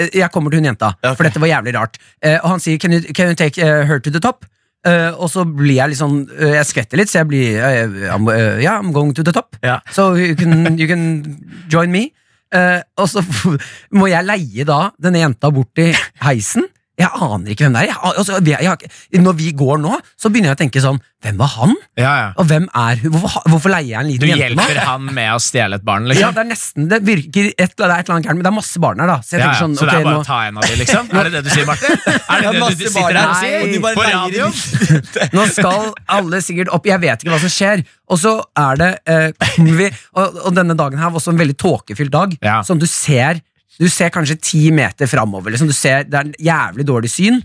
jeg, jeg kommer til hun jenta, Ja, ok. for dette var jævlig rart. Eh, og han sier 'can you, can you take eh, her to the top'? Eh, og så blir jeg litt sånn eh, Jeg skvetter litt, så jeg blir eh, I'm, eh, yeah, I'm going to the top. Ja. So you can, you can join me. Eh, og så må jeg leie da denne jenta bort til heisen. Jeg aner ikke hvem det er. Jeg, a- altså, jeg, jeg, har ikke- når vi går nå, så begynner jeg å tenke sånn Hvem var han? Ja, ja. Og hvem er hun? Hvorfor, ha- hvorfor leier jeg en Du liten jente nå? hjelper han med å stjele et barn, Ja, liksom? det er nesten Det virker et, det er et eller annet gærent, men det er masse barn her, da. Så jeg Ja, tenker ja. sånn Så det ok, er bare nå- å ta en av de, liksom? Er det det du sier, Martin? Er det det du masse sitter her og barn her, sier? og de bare På leier radio? Nå skal alle sikkert opp. Jeg vet ikke hva som skjer. Og så er det eh, kommer vi, og, og denne dagen her var også en veldig tåkefylt dag. Ja. Sånn du ser Du ser kanskje ti meter framover. Liksom. Du ser, det er en jævlig dårlig syn.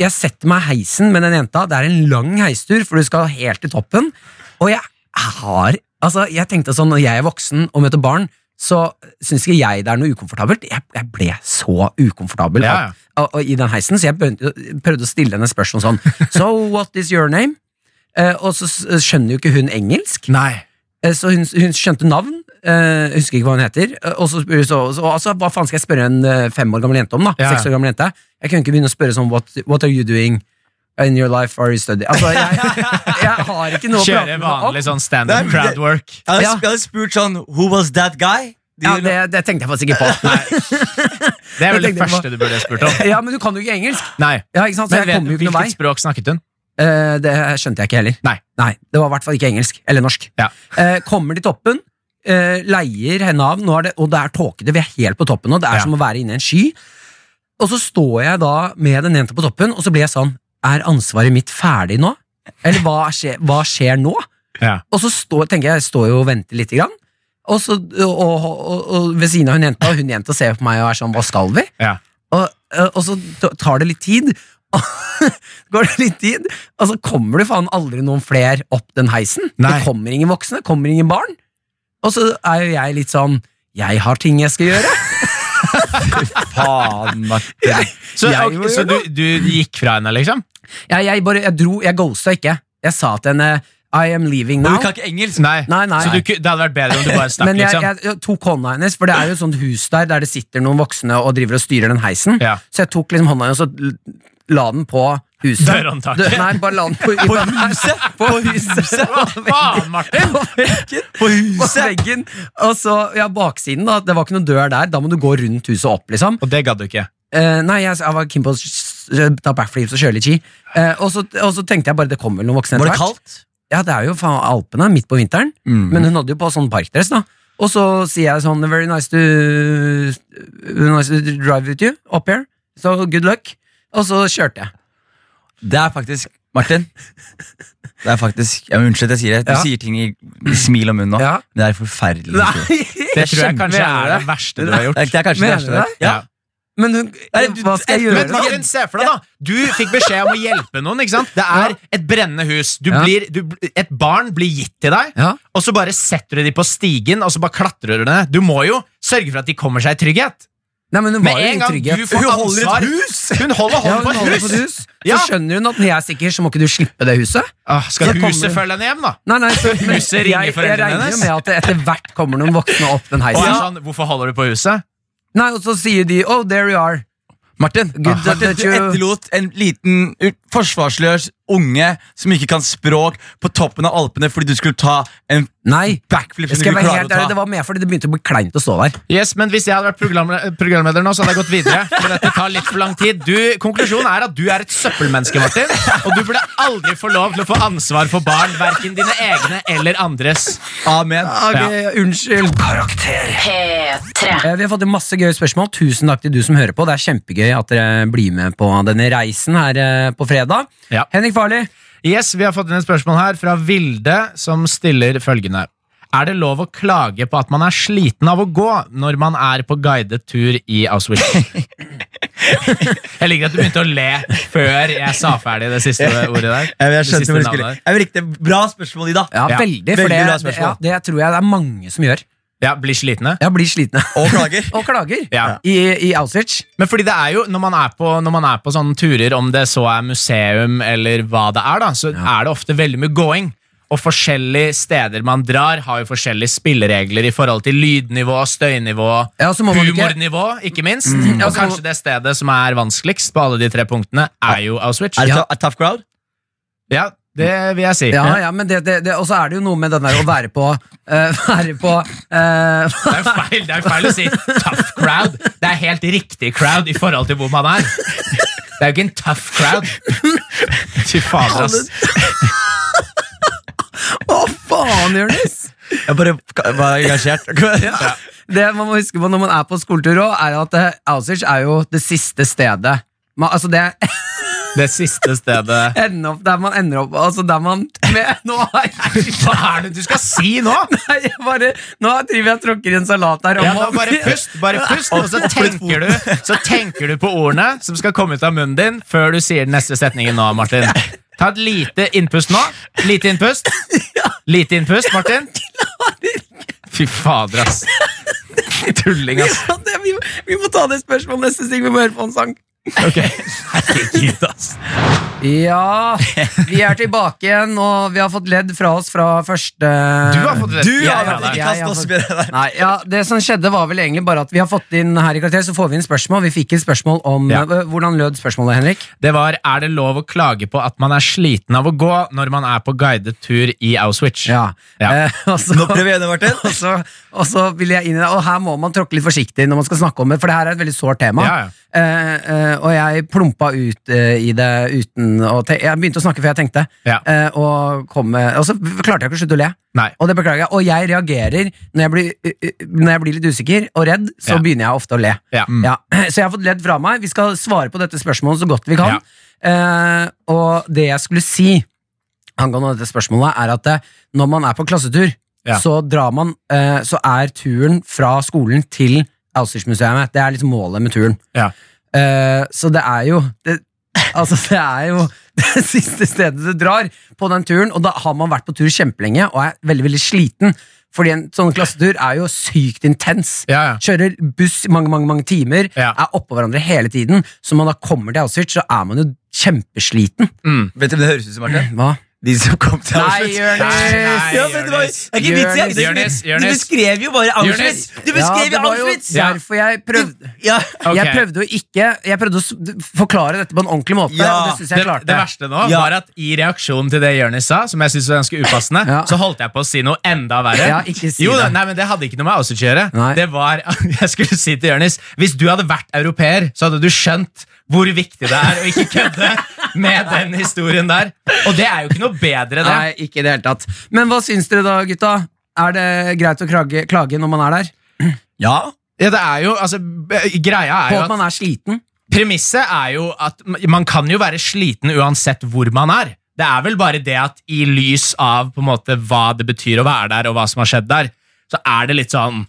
Jeg setter meg i heisen med den jenta. Det er en lang heistur, for du skal helt til toppen. Og jeg har Altså, jeg tenkte sånn, når jeg er voksen og møter barn, så syns ikke jeg det er noe ukomfortabelt. Jeg, jeg ble så ukomfortabel Ja, ja. at, og, og i den heisen, så jeg begynte, prøvde å stille henne spørsmål sånn So what is your name? Eh, og så s- skjønner jo ikke hun engelsk, Nei. eh, så hun, hun skjønte navn. eh, husker ikke hva hun heter. eh, og så, spør- så, så altså, Hva faen skal jeg spørre en eh, fem år gammel jente om? da Ja, ja. Seks år gammel jente Jeg kunne ikke begynne å spørre sånn What, what are you doing in your life? Are you studying? Altså, jeg, jeg har ikke noe å prate Kjøre med henne om. vanlig sånn Nei, standup men det- crowdwork. Jeg hadde, Ja. jeg hadde spurt sånn Who was that guy? De- Ja, det, det tenkte jeg faktisk ikke på. Det er vel det Jeg tenkte på- første du burde spurt om. Ja, Men du kan jo ikke engelsk. Nei. Ja, ikke sant? Så Men jeg vet, kommer jo ikke noen vei. hvilket språk snakket hun? Eh, det skjønte jeg ikke heller. Nei. Det var i hvert fall ikke engelsk. Eller norsk. Ja. Eh, kommer til toppen, eh, leier henne av, nå er det, og det er tåkete, vi er helt på toppen nå, det er Ja. som å være inne i en sky. Og så står jeg da med den jenta på toppen, og så blir jeg sånn, er ansvaret mitt ferdig nå? Eller hva skjer, hva skjer nå? Ja. Og så står, tenker jeg, jeg står jo og venter litt grann, og, så, og, og, og, og ved siden av hun jenta, og hun jenta ser på meg og er sånn, hva skal vi? Ja. Og, eh, og så t- tar det litt tid. Går det litt tid, og så kommer det faen aldri noen flere opp den heisen. Nei. Det kommer ingen voksne, det kommer ingen barn. Og så er jo jeg litt sånn Jeg har ting jeg skal gjøre. Faen, Martin. Så, Jeg ok, må så gjøre du, du gikk fra henne, liksom? Jeg, jeg bare, jeg dro, jeg ghosta ikke. Jeg sa til henne I am leaving Og now. du kan ikke engelsk? Nei. Nei, nei. Så du, ku- det hadde vært bedre om du bare stakk, Men jeg, liksom? jeg, jeg tok hånda hennes, for det er jo et sånt hus der der det sitter noen voksne og driver og styrer den heisen. Ja. Så jeg tok liksom hånda hennes og l- la den på huset. Dørhåndtaket. Dø- Nei, bare la den på, på huset! På huset. Hva faen, Martin? På veggen. På veggen. Og så, ja, baksiden, da. Det var ikke noen dør der. Da må du gå rundt huset opp, liksom. Og det gadd du ikke? Eh, nei, jeg, jeg var keen på å s- s- ta backflips og kjøre litt ski. Eh, og, så, og så tenkte jeg bare det kommer vel noen voksne Var det etter hvert. kaldt? Ja, det er jo faen Alpene, midt på vinteren. Mm. Mm. Men hun hadde jo på sånn parkdress, da. Og så sier jeg sånn Very nice to, nice to drive with you up here. So good luck. Og så kjørte jeg. Det er faktisk Martin. Det er faktisk ja, men Unnskyld at jeg sier det. Du Ja. sier ting i i smil og munn nå. Ja. Det er forferdelig. Det tror jeg kjempeenig kanskje er med det verste du har Det gjort. er, det er kanskje det Mener verste du der. det? Ja. Men hun, Nei, du- hva skal jeg jeg- gjøre? Men Martin, se for deg da Du fikk beskjed om å hjelpe noen, ikke sant? Det er et brennende hus du Ja. blir, du, Et barn blir gitt til deg Ja. Og så bare setter du dem på stigen Og så bare klatrer du ned Du må jo sørge for at de kommer seg i trygghet Nei, men hun Med var jo i en gang trygghet. du får Hun holder et ansvar Hun holder Ja, hun hånden på holder et på hus, et hus. Så Ja. skjønner hun at når jeg er sikker, så må ikke du slippe det huset. Ah, Så Skal kommer huset hun. følge henne hjem da? Nei, nei, så, men Huset ringer jeg, jeg foreldrene regner jo hennes. med at det etter hvert kommer noen voksne opp den Og heisen. er sånn, hvorfor holder du på huset? Nei, Og så sier de 'oh, there you are'. Martin, Good Martin, that du you- etterlot en liten u- forsvarsløs unge som ikke kan språk, på toppen av Alpene fordi du skulle ta en Nei. backflip. Jeg som du skal ikke være klarer å helt ærlig, Det ta var mer fordi det begynte å bli kleint å stå der. Yes, men hvis jeg hadde vært programle- programleder nå Så hadde jeg gått videre For dette tar litt for lang tid du, Konklusjonen er at du er et søppelmenneske, Martin Og du burde aldri få lov til å få ansvar for barn Hverken dine egne eller andres Amen. Ok, Unnskyld. Karakter. P3. Eh, Vi har fått inn masse gøye spørsmål. Tusen takk til du som hører på. Det er kjempegøy at dere blir med på denne reisen her eh, på fredag. Ja. Henrik Farley, Yes, Vi har fått inn et spørsmål her fra Vilde, som stiller følgende. Er det lov å klage på at man er sliten av å gå når man er på guidet tur i Auschwitz? jeg liker at du begynte å le før jeg sa ferdig det siste ordet der. Jeg, jeg Det skjønte siste hvor du navnet skulle. der. Jeg likte Bra spørsmål, Ida. ja, Ja, veldig. veldig For det, bra det, spørsmål. ja, det tror jeg det er mange som gjør. Ja, Blir slitne? Jeg blir slitne. Og klager. Og klager. Ja. I, I Auschwitz. Men fordi det er jo, når man er på, når man er på sånne turer, om det så er museum eller hva det er, da, så er det ofte veldig mye going. Og forskjellige steder man drar, har jo forskjellige spilleregler i forhold til lydnivå, støynivå, Ja, så må man ikke- Mm. Altså- humornivå, ikke minst. Ja, Og så må- kanskje det stedet som er vanskeligst på alle de tre punktene, er jo Auschwitz. Er det Ja, ta- er tough crowd? ja det vil jeg si. Ja, ja, men det, det, det, Og så er det jo noe med den der å være på eh, Være på eh, Det er jo feil, det er jo feil å si tough crowd. Det er helt riktig crowd i forhold til hvor man er. Det er jo ikke en tough crowd. Fy fader, ass. Å, faen, Jonis! Jeg bare ka- var engasjert. Ja. Det man må huske på når man er på skoletur òg, er at eh, Auschwitz er jo det siste stedet. Man, altså det Det siste stedet ender opp der man ender opp Altså der man med, Nå har jeg Hva er det du skal si nå? Nei, jeg bare, nå driver jeg og tråkker i en salat her. og Ja, nå man- bare pust, bare pust og så tenker, du, så tenker du på ordene som skal komme ut av munnen din før du sier den neste setningen nå, Martin. Ta et lite innpust nå. Lite innpust. Lite innpust, Martin. Fy fader, ass. Tulling, ass. Ja, det, vi, vi må ta det spørsmålet neste sting. Vi må høre på en sang. Herregud, ass. Ja, vi er tilbake igjen, og vi har fått ledd fra oss fra første Du har fått rett. Du Jeg har har vært i det. Jeg kast har også fått- med det der. Nei, ja, Det som skjedde, var vel egentlig bare at vi har fått inn her i karakter, så får vi inn spørsmål. Vi fikk et spørsmål om Ja. eh, Hvordan lød spørsmålet, Henrik? Det var er det lov å klage på at man er sliten av å gå når man er på guidet tur i Auschwitz. Ja. Ja. Eh, og så- Nå prøver jeg igjen, Martin. og så, og så vil jeg inn i det, og her må man tråkke litt forsiktig når man skal snakke om det, for det her er et veldig sårt tema. Ja, eh, eh, og jeg plumpa ut eh, i det uten å te Jeg begynte å snakke før jeg tenkte, Ja. eh, og, kom, med- og så klarte jeg ikke å slutte å le. Nei. Og det beklager jeg. Og jeg reagerer når jeg blir, ø- ø- når jeg blir litt usikker og redd, så Ja. begynner jeg ofte å le. Ja. Ja. Så jeg har fått ledd fra meg. Vi skal svare på dette spørsmålet så godt vi kan. Ja. Eh, og det jeg skulle si angående dette spørsmålet, er at eh, når man er på klassetur, Ja. så drar man eh, Så er turen fra skolen til Austersmuseet. Det er liksom målet med turen. Ja. Eh, så det er jo det, Altså, det er jo det siste stedet du drar på den turen, og da har man vært på tur kjempelenge og er veldig veldig sliten. Fordi en sånn klassetur er jo sykt intens. Ja, ja. Kjører buss i mange mange, mange timer, Ja. er oppå hverandre hele tiden. Så når man da kommer til Auschwitz, så er man jo kjempesliten. Vet du hva det høres ut som, Martin? Hva? De som kom til Nei, Auschwitz. Jonis! Ja, men det var, det er ikke Jonis, vits i det. Jonis, Du Jonis. beskrev jo bare Auschwitz! Du Ja, beskrev det jo var jo Auschwitz! Ja. derfor jeg prøvde Ja. Ok. Jeg prøvde å ikke Jeg prøvde å s- forklare dette på en ordentlig måte, Ja. og det syns jeg Det, klarte. det verste nå Ja. var at i reaksjonen til det Jonis sa, som jeg synes var ganske upassende, Ja. så holdt jeg på å si noe enda verre. Ja, ikke si jo, da, det. Nei, men det hadde ikke noe med Auschwitz å gjøre. Nei. Det var, jeg skulle si til Jonis, hvis du hadde vært europeer, så hadde du skjønt hvor viktig det er å ikke kødde med den historien der. Og det er jo ikke noe bedre, det. Nei, ikke i det hele tatt. Men hva syns dere da, gutta? Er det greit å klage, klage når man er der? ja. Ja, det er jo, altså, b- greia er På jo at at man er sliten? Premisset er jo at m- man kan jo være sliten uansett hvor man er. Det er vel bare det at i lys av på en måte hva det betyr å være der, og hva som har skjedd der, så er det litt sånn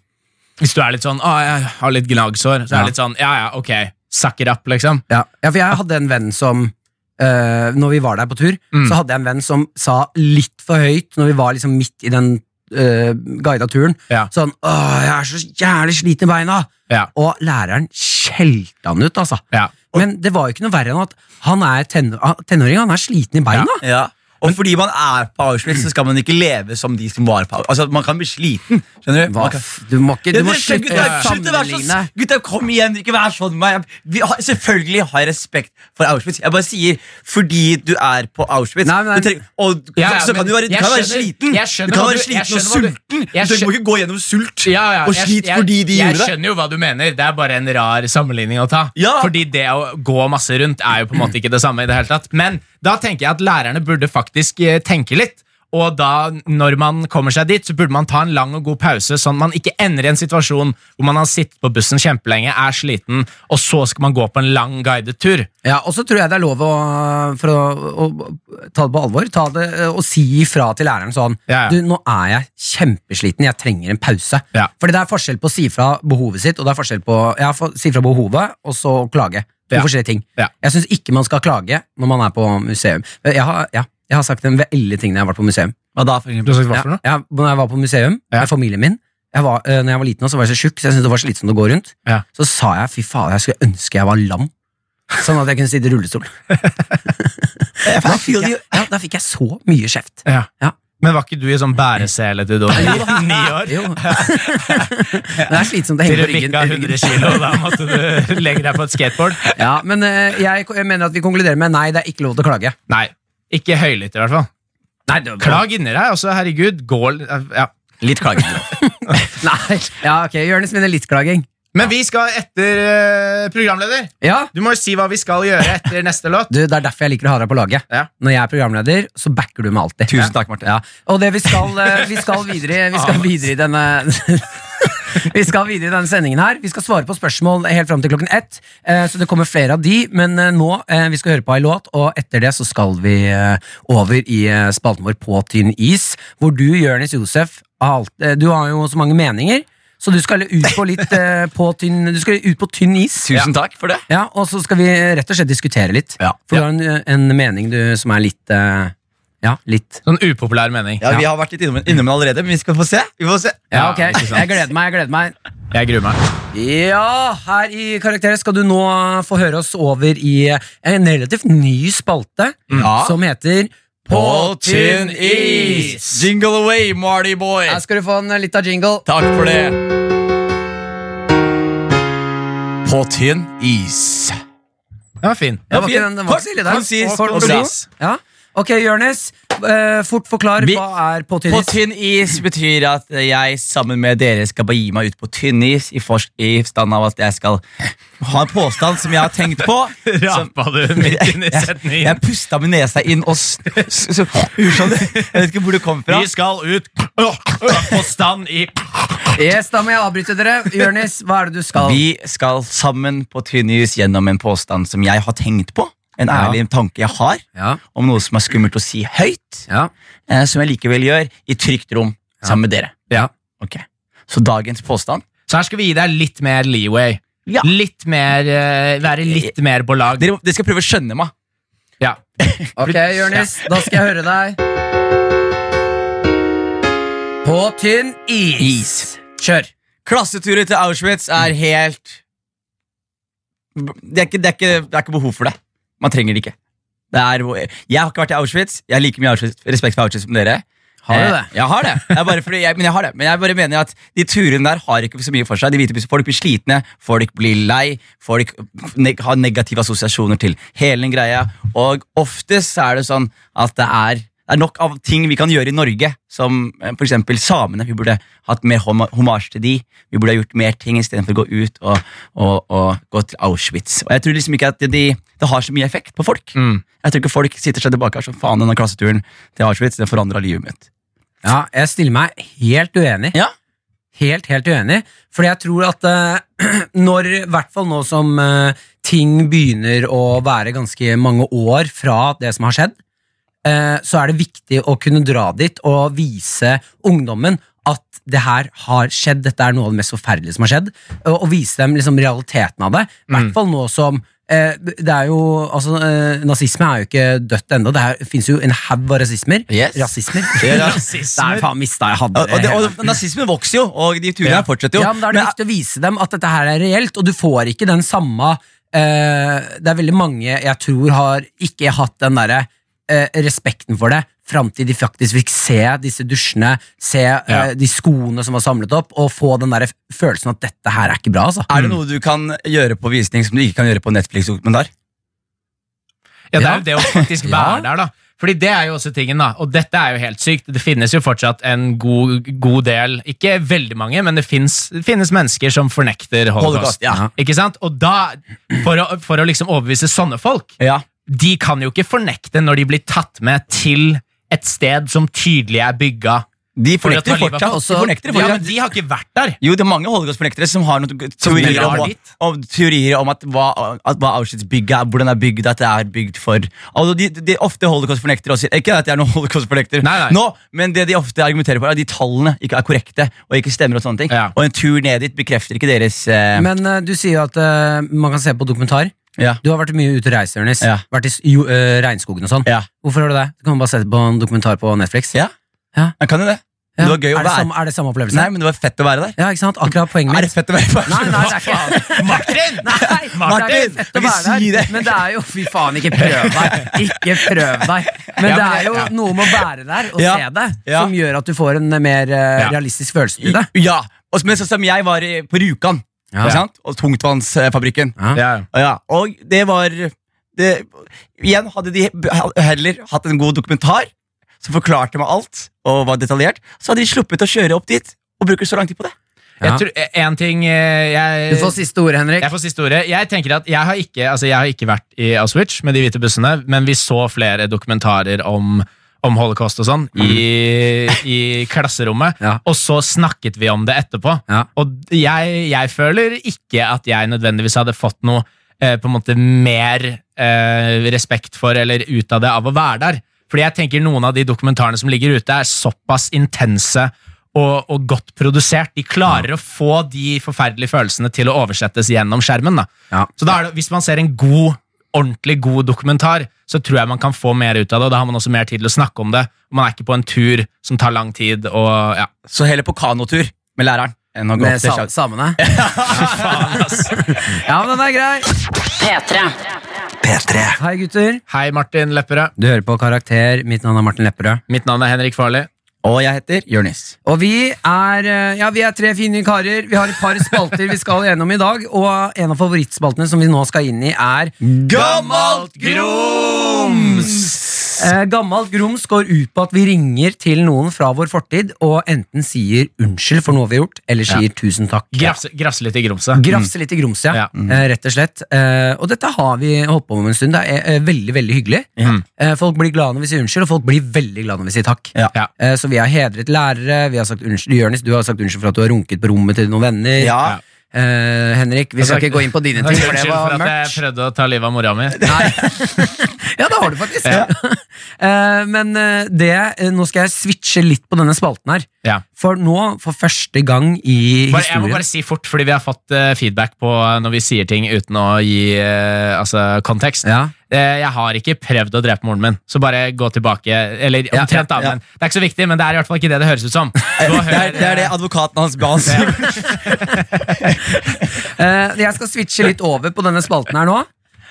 Hvis du er litt sånn 'Å, jeg har litt gnagsår', så Ja. er det litt sånn 'Ja, ja, ok, suck it up', liksom. Ja, ja for jeg hadde en venn som eh, Når vi var der på tur, Mm. så hadde jeg en venn som sa litt for høyt når vi var liksom midt i den uh, guida turen, Ja. sånn Åh, jeg er så jævlig sliten i beina! Ja. Og læreren skjelte han ut, altså. Ja. Men det var jo ikke noe verre enn at han er tenå- ah, tenåring, han er sliten i beina. ja. Og fordi man er på Auschwitz, så skal man ikke leve som de som var på Auschwitz. Altså, Man kan bli sliten. skjønner du? Hva Man kan, f- Du må ikke du Ja, må dere- slutte å gutta, slutt å være sammenligne. så- Gutta, kom igjen, ikke vær sånn med meg. Vi har, selvfølgelig har jeg respekt for Auschwitz. Jeg bare sier fordi du er på Auschwitz Nei, nei. Du trenger, og, Ja, så, ja, så kan men du være, du jeg kan være skjønner- sliten. jeg skjønner du kan hva være du- jeg sliten og skjønner hva du- sulten. jeg Du må skjønner- ikke gå gjennom sult Ja, ja, og jeg- slit jeg- fordi de jeg gjorde det. skjønner jo hva du mener. Det er bare en rar sammenligning å ta. Ja. Fordi det å gå masse rundt er jo på en måte ikke det samme i det hele tatt. Men da tenker jeg at lærerne burde faktisk eh, tenke litt. Og da, når man kommer seg dit, så burde man ta en lang og god pause, sånn at man ikke ender i en situasjon hvor man har sittet på bussen kjempelenge, er sliten, og så skal man gå på en lang guidet tur. Ja, og så tror jeg det er lov å, for å, å, å ta det på alvor, ta det eh, og si ifra til læreren sånn Ja, ja. Du, nå er jeg kjempesliten, jeg trenger en pause. Ja. Fordi det er forskjell på å si fra behovet sitt, og det er forskjell på ja, for, si fra behovet, og så klage. To Ja. forskjellige ting. Ja. Jeg syns ikke man skal klage når man er på museum. Jeg har, ja, jeg har sagt en veldig ting når jeg har vært på museum. Hva da, for eksempel? har sagt Ja, ja, når jeg var på museum Ja. med familien min jeg var, eh, Når jeg var liten, så var jeg så tjukk, så jeg syntes det var slitsomt å gå rundt. Ja. Så sa jeg fy faen, jeg skulle ønske jeg var lam, sånn at jeg kunne sitte i rullestol. da, feel fikk jeg, you. ja, da fikk jeg så mye kjeft. Ja. Ja. Men var ikke du i sånn bæresele til da du var ni år? Jo. det er slitsomt å henge Til du på ryggen. bikka 100 kilo, da måtte du legge deg på et skateboard? Ja, men eh, jeg, jeg mener at vi konkluderer med nei, det er ikke lov til å klage. Nei, ikke høylytt i hvert fall. Klag inni deg, altså, herregud. Gå ja. Litt klaging. Nei, ja, ok, Jonis mener litt klaging. Men vi skal etter eh, Programleder, Ja, du må jo si hva vi skal gjøre etter neste låt. du, Det er derfor jeg liker å ha deg på laget. Ja. Når jeg er programleder, så backer du meg alltid. Tusen takk, Martin. Ah. Ja. Og det vi skal, eh, vi skal videre Vi skal videre i denne Vi skal videre i denne sendingen her Vi skal svare på spørsmål helt frem til klokken ett eh, Så det kommer flere av de Men eh, nå, eh, vi skal høre på en låt Og etter det så skal vi eh, over i eh, spalten vår på tynn is Hvor du, Jørnes Josef har alt, eh, Du har jo så mange meninger Så du skal ut på litt eh, på tynn Du skal ut på tynn is Tusen takk for det. ja, og så skal vi rett og slett diskutere litt Ja. For du har en, en mening du, som er litt eh, Ja, litt Sånn upopulær mening. Ja, Vi har vært litt innom, innom den allerede, men vi skal få se. Vi får se. Ja, ok. Ja, ikke sant. Jeg gleder meg. jeg gleder meg Jeg gruer meg. Ja, her i Karakter skal du nå få høre oss over i en relativt ny spalte Mm. Ja. som heter Jingle away, Marty boy. Her skal du få en litt av jingle. Takk for det. På tynn is. Den var fin. Det var fin. ikke den, den var Kort, ikke så ille der. konsis, Kort og konsis. god. Ja. Ok, Jonis, eh, fort forklar. Vi- hva er På på tynnis? tynn is betyr at jeg sammen med dere skal begi meg ut på tynn is i, forst, i stand av at jeg skal ha en påstand som jeg har tenkt på. som, Rapa du midt inn i setningen? jeg pusta med nesa inn og s- s- s- gjorde sånn. Jeg vet ikke hvor det kom fra. Vi skal ut på stand i Yes, da må jeg avbryte dere. Jonis, hva er det du skal? Vi skal sammen på tynn is gjennom en påstand som jeg har tenkt på. En Ja. ærlig tanke jeg har Ja, om noe som er skummelt å si høyt, ja, eh, som jeg likevel gjør i trygt rom sammen med dere. ja. Ok, Så dagens påstand Så her skal vi gi deg litt mer leeway. Ja. Litt mer, eh, Være litt mer på lag. Dere, dere skal prøve å skjønne meg. Ja. Ok, Jonis, da skal jeg høre deg. På tynn is. Is. Kjør. Klasseturer til Auschwitz er helt det er, ikke, det, er ikke, det er ikke behov for det. Man trenger det ikke. Det er, jeg har ikke vært i Auschwitz. Jeg har like mye Auschwitz, respekt for Auschwitz som dere. Har du Eh, det? Jeg har det. Det er bare fordi jeg, men jeg har det. Men jeg bare mener at de turene der har ikke så mye for seg. De hvite folk blir slitne, folk blir lei, folk neg har negative assosiasjoner til hele den greia. Og oftest er det sånn at det er det er nok av ting vi kan gjøre i Norge, som eh, for eksempel samene. Vi burde hatt mer homa- hommage til de. Vi burde ha gjort mer ting istedenfor å gå ut og, og, og gå til Auschwitz. Og jeg tror liksom ikke at det, de, det har så mye effekt på Mm. folk. Jeg tror ikke folk sitter seg tilbake og er sånn faen, denne klasseturen til Auschwitz den forandra livet mitt. Ja, jeg stiller meg helt uenig. Ja. Helt, helt uenig. Fordi jeg tror at eh, når, i hvert fall nå som eh, ting begynner å være ganske mange år fra det som har skjedd, eh, så er det viktig å kunne dra dit og vise ungdommen at det her har skjedd, dette er noe av det mest forferdelige som har skjedd, og, og vise dem liksom realiteten av det. I Mm. hvert fall nå som eh, det er jo, altså eh, Nazisme er jo ikke dødt ennå. Det er- finnes jo en haug av rasismer. Yes. Rasismer. Rasismer. Der faen mista jeg hadde Og, og, det, hele. og Nazismen vokser jo, og de turene Ja. her fortsetter jo. Ja, men da er det Men- viktig å vise dem at dette her er reelt, og du får ikke den samme eh, Det er veldig mange jeg tror har ikke hatt den derre eh, respekten for det fram til de faktisk fikk se disse dusjene, se eh, Ja. de skoene som var samlet opp, og få den derre følelsen at dette her er ikke bra, altså. er det noe du kan gjøre på visning som du ikke kan gjøre på Netflix-dokumentar? Ja, det er Ja. jo det å faktisk være der, da. Fordi det er jo også tingen, da. Og dette er jo helt sykt. Det finnes jo fortsatt en god, god del, ikke veldig mange, men det finnes, det finnes mennesker som fornekter holocaust. Holocaust, ja. Ikke sant? Og da, for å, for å liksom overbevise sånne folk, Ja. de kan jo ikke fornekte når de blir tatt med til et sted som tydelig er bygga. De For å ta fornekter livet av fortsatt. også- de fornekter det Ja, fortsatt. men de har ikke vært der! Jo, det er mange holocaust-fornektere som har noen teorier drar om, hva- dit. om, teorier om at hva, at hva Auschwitz-bygget er, hvordan det er bygd, at det er bygd for altså, de, de ofte holocaust-fornektere også, Ikke at jeg er noen holocaust-fornekter Nei, nei. nå, men det de ofte argumenterer for, er at de tallene ikke er korrekte og ikke stemmer. Og sånne ting Ja. Og en tur ned dit bekrefter ikke deres eh, Men eh, du sier jo at eh, man kan se på dokumentar. ja. Du har vært mye ute og reist, Jonis. Ja. Vært i s- jo, eh, regnskogen og sånn. Ja. Hvorfor har du det? Du kan bare sette på en dokumentar på Netflix. Ja. Ja. Jeg kan jo det. Ja. Det var gøy å er, det være samme, er det samme opplevelse? Nei, men det var fett å være der. Ja, ikke sant? Akkurat poenget Er mitt. det fett å være på Nei, nei, det er ikke Martin! Nei, Martin, det er jo fett du å kan ikke være si der, det. men det er jo Fy faen, ikke prøv deg! Ikke prøv deg! Men Ja, det men er jo det- ja. noe med å være der og Ja, se det, ja. som gjør at du får en mer eh, Ja. realistisk følelse til det. Ja, og, men sånn som jeg var i, på Rjukan, Ja. ikke sant? og tungtvannsfabrikken. Ja. Ja, og det var det, Igjen hadde de heller hatt en god dokumentar som forklarte meg alt, og var detaljert, så hadde de sluppet å kjøre opp dit og bruke så lang tid på det. Ja. Jeg tror, en ting eh, jeg Du får siste ord, Henrik. Jeg får siste ordet. Jeg tenker at jeg har ikke, altså jeg har ikke vært i Auschwitz med de hvite bussene, men vi så flere dokumentarer om, om holocaust og sånn i, i klasserommet, Mm. Ja. og så snakket vi om det etterpå. Ja. Og jeg, jeg føler ikke at jeg nødvendigvis hadde fått noe eh, på en måte mer eh, respekt for eller ut av det av å være der. Fordi jeg tenker noen av de dokumentarene som ligger ute, er såpass intense og, og godt produsert. De klarer å få de forferdelige følelsene til å oversettes gjennom skjermen. Da. Ja. Så da er det, hvis man ser en god, ordentlig god dokumentar, så tror jeg man kan få mer ut av det, og da har man også mer tid til å snakke om det. Og man er ikke på en tur som tar lang tid, og ja. Så heller på kanotur med læreren enn å gå Med opp til sa sjau- samene. Ja, men den er grei. P3. P3 Hei, gutter. Hei, Martin Lepperød. Du hører på Karakter. Mitt navn er Martin Lepperød. Mitt navn er Henrik Farley. Og jeg heter Jonis. Og vi er, eh, ja, vi er tre fine karer. Vi har et par spalter vi skal gjennom i dag. Og en av favorittspaltene som vi nå skal inn i, er Gammalt grums! Eh, gammelt grums går ut på at vi ringer til noen fra vår fortid og enten sier unnskyld for noe vi har gjort, eller sier tusen takk. Grafse, grafse litt i grumset. Grafse litt i grumset, ja. Ja. Eh, rett og slett. Eh, og dette har vi holdt på med en stund. Det er eh, veldig veldig hyggelig. Eh, folk blir glade når vi sier unnskyld, og folk blir veldig glade når vi sier takk. Ja. Ja. Eh, så vi har hedret lærere. Vi har sagt unnskyld, Jonis, du har sagt unnskyld for at du har runket på rommet til noen venner. Ja. Eh, Henrik, vi skal ikke gå inn på dine ting, for det Unnskyld var for at jeg mørkt. prøvde å ta livet av mora mi. Nei. ja, det har du faktisk. Eh, Men eh, det, eh, nå skal jeg switche litt på denne spalten her. Ja. For nå, for første gang i Bare, jeg må historien bare si fort, fordi vi har fått eh, feedback på eh, når vi sier ting uten å gi eh, altså, kontekst. Ja. Eh, jeg har ikke prøvd å drepe moren min, så bare gå tilbake. Eller Ja, omtrent, da. ja. Men det er ikke så viktig, men det er i hvert fall ikke det det høres ut som. Gå og Eh, Det er, hør, det er det advokaten hans ba oss si. Eh, Jeg skal switche litt over på denne spalten her nå.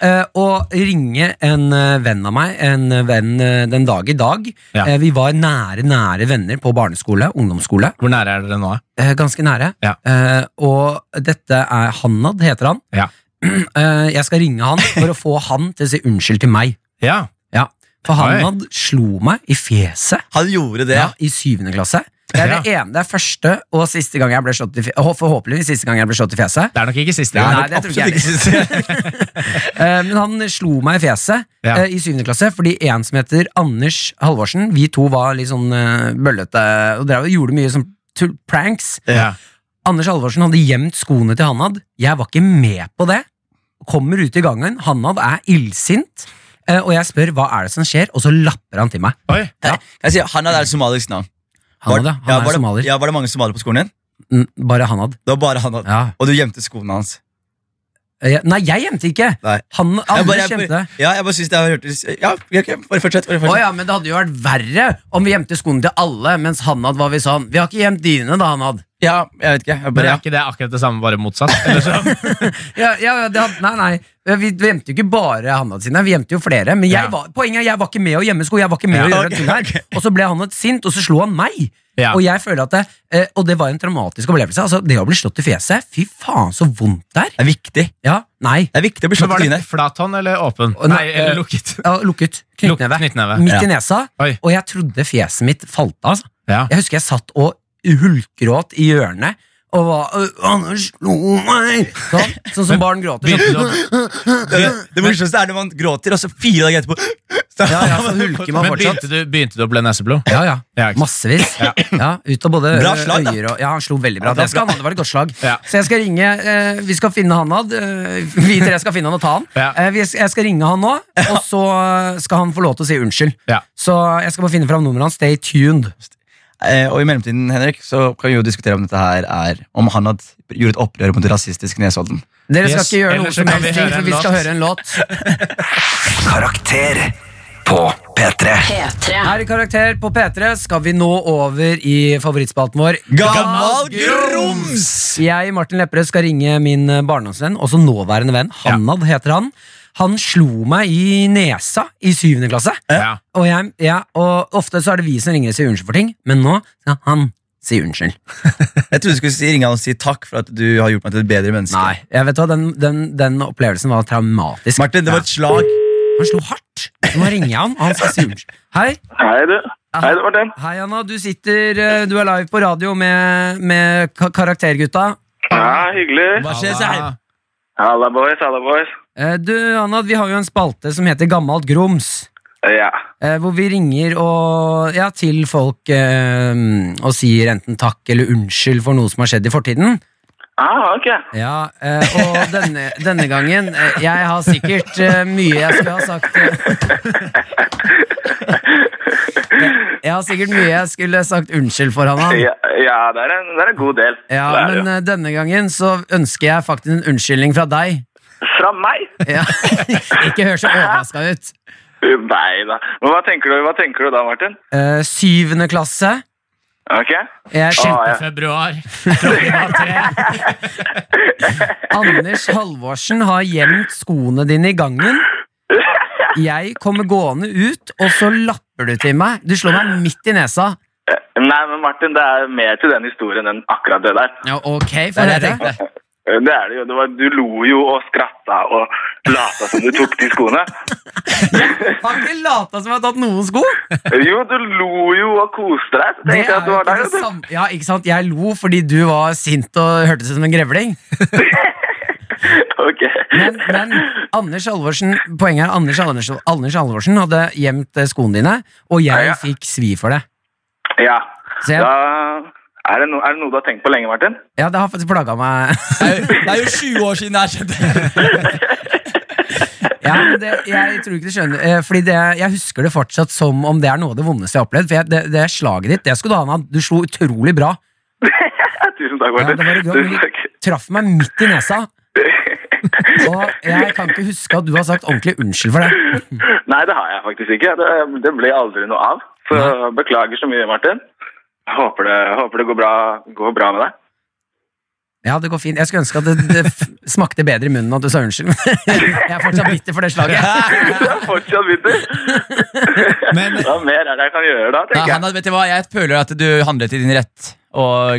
eh, og ringe en eh, venn av meg, en eh, venn eh, den dag i dag. Ja. Eh, vi var nære, nære venner på barneskole, ungdomsskole. Hvor nære er dere nå? Eh, ganske nære. Ja. Eh, og dette er Hanad, heter han. Ja. Eh, jeg skal ringe han for å få han til å si unnskyld til meg. Ja. Ja, For Oi. Hanad slo meg i fjeset Han gjorde det. ja. i syvende klasse. Det er det ene, det er første og siste gang jeg ble slått i fje- hå- forhåpentligvis siste gang jeg ble slått i fjeset. Det er nok ikke siste Nei, gang. det tror ikke jeg. ikke. Eh, men han slo meg i fjeset Ja. eh, i syvende klasse fordi en som heter Anders Halvorsen Vi to var litt sånn eh, bøllete og drev, og gjorde mye sånn tull- pranks. Ja. Anders Halvorsen hadde gjemt skoene til Hanad. Jeg var ikke med på det. Kommer ut i gangen, Hanad er illsint, eh, og jeg spør hva er det som skjer, og så lapper han til meg. Oi. Ja. Jeg sier, Hanad er et somalisk navn. Hanad, ja. ja, Han var er det, somalier. Ja, Var det mange somalier på skolen din? Mm, Bare Hanad. Det var bare Hanad. Ja. Og du gjemte skoene hans. Eh, Nei, jeg gjemte ikke! Nei. Han, Jeg bare, Anders jeg, gjemte. ja, jeg bare synes det har hørtes Ja, ok, bare fortsett. Bare Å fortsett. ja, men det hadde jo vært verre om vi gjemte skoene til alle, mens Hanad var vi sånn. Vi har ikke gjemt dine, da, Hanad. ja, jeg vet ikke. Jeg Men bare, er ja. ikke det akkurat det samme, bare motsatt? Eller så? Ja, ja, ja, det hadde, nei, nei. Vi, vi gjemte jo ikke bare Hanad sine, vi gjemte jo flere. Men jeg Ja. var, poenget er jeg var ikke med å gjemme sko. Jeg var ikke med Ja, å gjøre ok, ting her Og så ble Hanad sint, og så slo han meg. Ja. Og jeg føler at det, eh, og det var en traumatisk opplevelse. Altså, det å bli slått i fjeset, fy faen, så vondt det er. Det er viktig. Ja, nei. Det er viktig å bli Men slått var i det trynet. flat hånd eller åpen? Å, Nei, nei, eh, eller lukket? Ja, lukket. Knyttneve. Knyttneve. Midt Ja. i nesa. Oi. Og jeg trodde fjeset mitt falt av. Altså. Ja. Jeg husker jeg satt og hulkgråt i hjørnet. Og var «Øh, 'Anders slo meg!' Sånn, sånn som barn gråter. Begynte Sånn. du å- Det, det morsomste er når man gråter, og så fire dager etterpå så, Ja, ja, så hulker man Men fortsatt. begynte du, begynte du å blø neseblod? Ja, ja. Ja, ikke sant. Massevis. Ja. ut av både Bra slag, da. øyer og Ja, han slo veldig bra. Ja, det var det, skal han, ha, det var et godt slag. Ja. Så jeg skal ringe eh, Vi skal finne Hanad. eh, vi tre skal finne han og ta han. Ja. Eh, vi- jeg skal ringe han nå, og så skal han få lov til å si unnskyld. Ja. Så jeg skal bare finne fram nummeret hans. Stay tuned. Eh, Og i mellomtiden Henrik, så kan vi jo diskutere om dette her er Om han hadde gjort et opprør mot rasistisk Nesodden. Dere skal Yes, ikke gjøre noe ellers så som kan helst, vi ting, høre for en vi skal låt. høre en låt. Karakter på P3. P3. Her i Karakter på P3 skal vi nå over i favorittspalten vår. Gammal grums! Jeg, Martin Lepperød, skal ringe min eh, barndomsvenn, også nåværende venn. Hanad heter han. Han slo meg i nesa i syvende klasse. Ja. Og, jeg, ja, og ofte så er det vi som ringer og sier unnskyld for ting, men nå skal han si unnskyld. Jeg trodde du skulle si, ringe han og si takk for at du har gjort meg til et bedre menneske. Nei, jeg vet hva, Den, den, den opplevelsen var traumatisk. Martin, det var et slag. Han slo hardt. Nå ringer jeg han, og han skal si unnskyld. Hei. Hei, du. Hei, det var den. Hei, Anna. Du sitter eh, Du er live på radio med, med ka- Karaktergutta. Ja, hyggelig. Hva skjer, Seim? Halla, boys. Halla, boys. Eh, Du, Anna, vi har jo en spalte som heter Gammalt grums. Ja. eh, Hvor vi ringer og, ja, til folk eh, og sier enten takk eller unnskyld for noe som har skjedd i fortiden. Ah, ok. Ja, eh, og denne, denne gangen eh, Jeg har sikkert eh, mye jeg skulle ha sagt eh. jeg, jeg har sikkert mye jeg skulle sagt unnskyld for, Hanna. Ja, ja det, er en, det er en god del. Ja, det er men det. eh, denne gangen så ønsker jeg faktisk en unnskyldning fra deg. Fra meg? Ja. Ikke hør så overraska ut. Nei da. Men hva tenker, du, hva tenker du da, Martin? Eh, syvende klasse. Ok? Jeg Ah, ja. Februar. Klokken var tre. Anders Halvorsen har gjemt skoene dine i gangen. Jeg kommer gående ut, og så lapper du til meg. Du slår meg midt i nesa. Nei, men Martin, det er mer til den historien enn akkurat det der. Ja, ok, Det for er det jeg dette. Eh, Det er det jo. Det var, du lo jo og skratta og lata som du tok de skoene. Har ikke lata som jeg har tatt noen sko! Jo, du lo jo og koste deg. Så tenkte jeg at du jo var ikke der. det vet du. samme- ja, ikke sant? Jeg lo fordi du var sint og hørtes ut som en grevling. Ok. Men, men Anders Alvorsen poenget er Anders, Anders, Anders Alvorsen hadde gjemt eh, skoene dine, og jeg Ja. fikk svi for det. Ja. Så jeg, Da er det, no, er det noe du har tenkt på lenge, Martin? ja, det har faktisk plaga meg. Det er jo- det er jo 20 år siden det her skjedde. Ja, men det, jeg tror ikke du skjønner eh, Fordi det, Jeg husker det fortsatt som om det er noe av det vondeste jeg har opplevd. For jeg, det, det slaget ditt, det skulle du ha, Anna. Du slo utrolig bra. Tusen takk, Ja, det Martin. var det bra, men Tusen takk. du traff meg midt i nesa. Og jeg kan ikke huske at du har sagt ordentlig unnskyld for det. Nei, det har jeg faktisk ikke. Det, det ble aldri noe av. Så beklager så mye, Martin. Håper det, håper det går, bra, går bra med deg. Ja, det går fint. Jeg skulle ønske at det, det f- smakte bedre i munnen at du sa unnskyld. Jeg er fortsatt bitter for det slaget. Jeg er fortsatt bitter. Men Hva mer er det jeg kan gjøre da, Ja, tenker han, jeg. hadde- vet du hva, Jeg føler at du handlet i din rett og,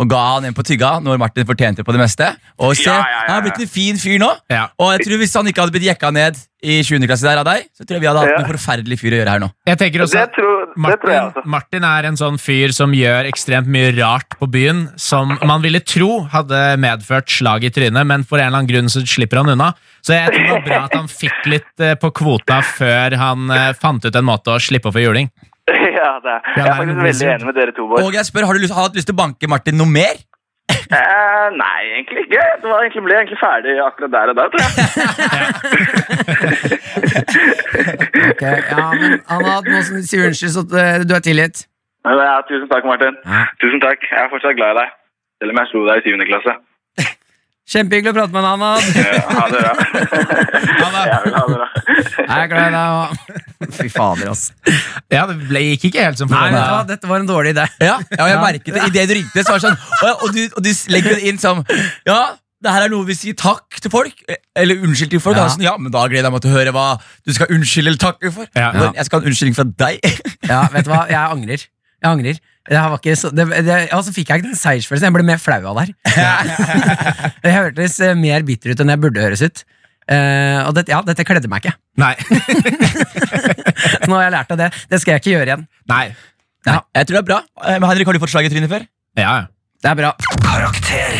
og ga han en på tygga når Martin fortjente på det meste. Og se, Ja, ja, ja, ja. Han har blitt en fin fyr nå. Ja. Og jeg tror Hvis han ikke hadde blitt jekka ned i 7. klasse der av deg, så tror jeg vi hadde hatt en forferdelig fyr å gjøre her nå. jeg tenker også Det at tror, det tror altså Martin, jeg også. Martin er en sånn fyr som gjør ekstremt mye rart på byen, som man ville tro hadde medført slag i trynet, men for en eller annen grunn så slipper han unna. Så jeg tror det var bra at han fikk litt eh, på kvota før han eh, fant ut en måte å slippe å få juling. Ja, det er. Jeg er faktisk veldig enig med dere to, Bård. Og jeg spør, Har du lyst, har du hatt lyst til å banke Martin noe mer? Eh, nei, egentlig ikke. Det var egentlig, ble egentlig ferdig akkurat der og da, tror jeg. Ok, ja, men Anna, nå som du sier unnskyld, så eh, du er tilgitt. Men, ja, tusen takk, Martin. Ja. Tusen takk. Jeg er fortsatt glad i deg. Selv om jeg slo deg i syvende klasse. Kjempehyggelig å prate med deg, Anna. Ja, ha det bra. Ja, vel, ha det bra. Jeg er glad i deg. og- Fy fader, ass. Ja, det ble, gikk ikke helt som Nei, vet du hva? forventet. Dette var en dårlig idé. Ja, ja og jeg merket det. Idet du ringte, så var det sånn og, og, du, og du legger det inn som Ja, det her er noe vi sier takk til folk. eh, Eller unnskyld til folk. Ja. Ja, sånn, ja men da gleder jeg meg til å høre hva du skal unnskylde eller takke for. Ja. Men Jeg skal ha en unnskyldning fra deg. Ja, vet du hva? Jeg angrer. Jeg angrer. Det her var ikke så, det, det, og så fikk jeg ikke den seiersfølelsen. Jeg ble mer flau av det her. jeg hørtes eh, mer bitter ut enn jeg burde høres ut. Eh, og det, ja, dette kledde meg ikke. Nei. Så nå har jeg lært av det. Det skal jeg ikke gjøre igjen. Nei. Nei, jeg tror det er bra. Eh, Men Henrik, har du fått slag i trynet før? Ja, ja. Det er bra. Karakter.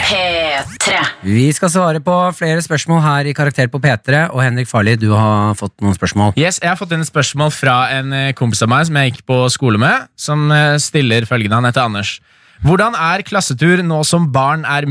P3. Vi skal svare på flere spørsmål her i Karakter på P3. Og Henrik Farli, du har fått noen spørsmål. Yes, Jeg har fått inn et spørsmål fra en eh, kompis av meg som jeg gikk på skole med, som eh, stiller følgende. Han heter Anders. Hvordan er klassetur nå som barn er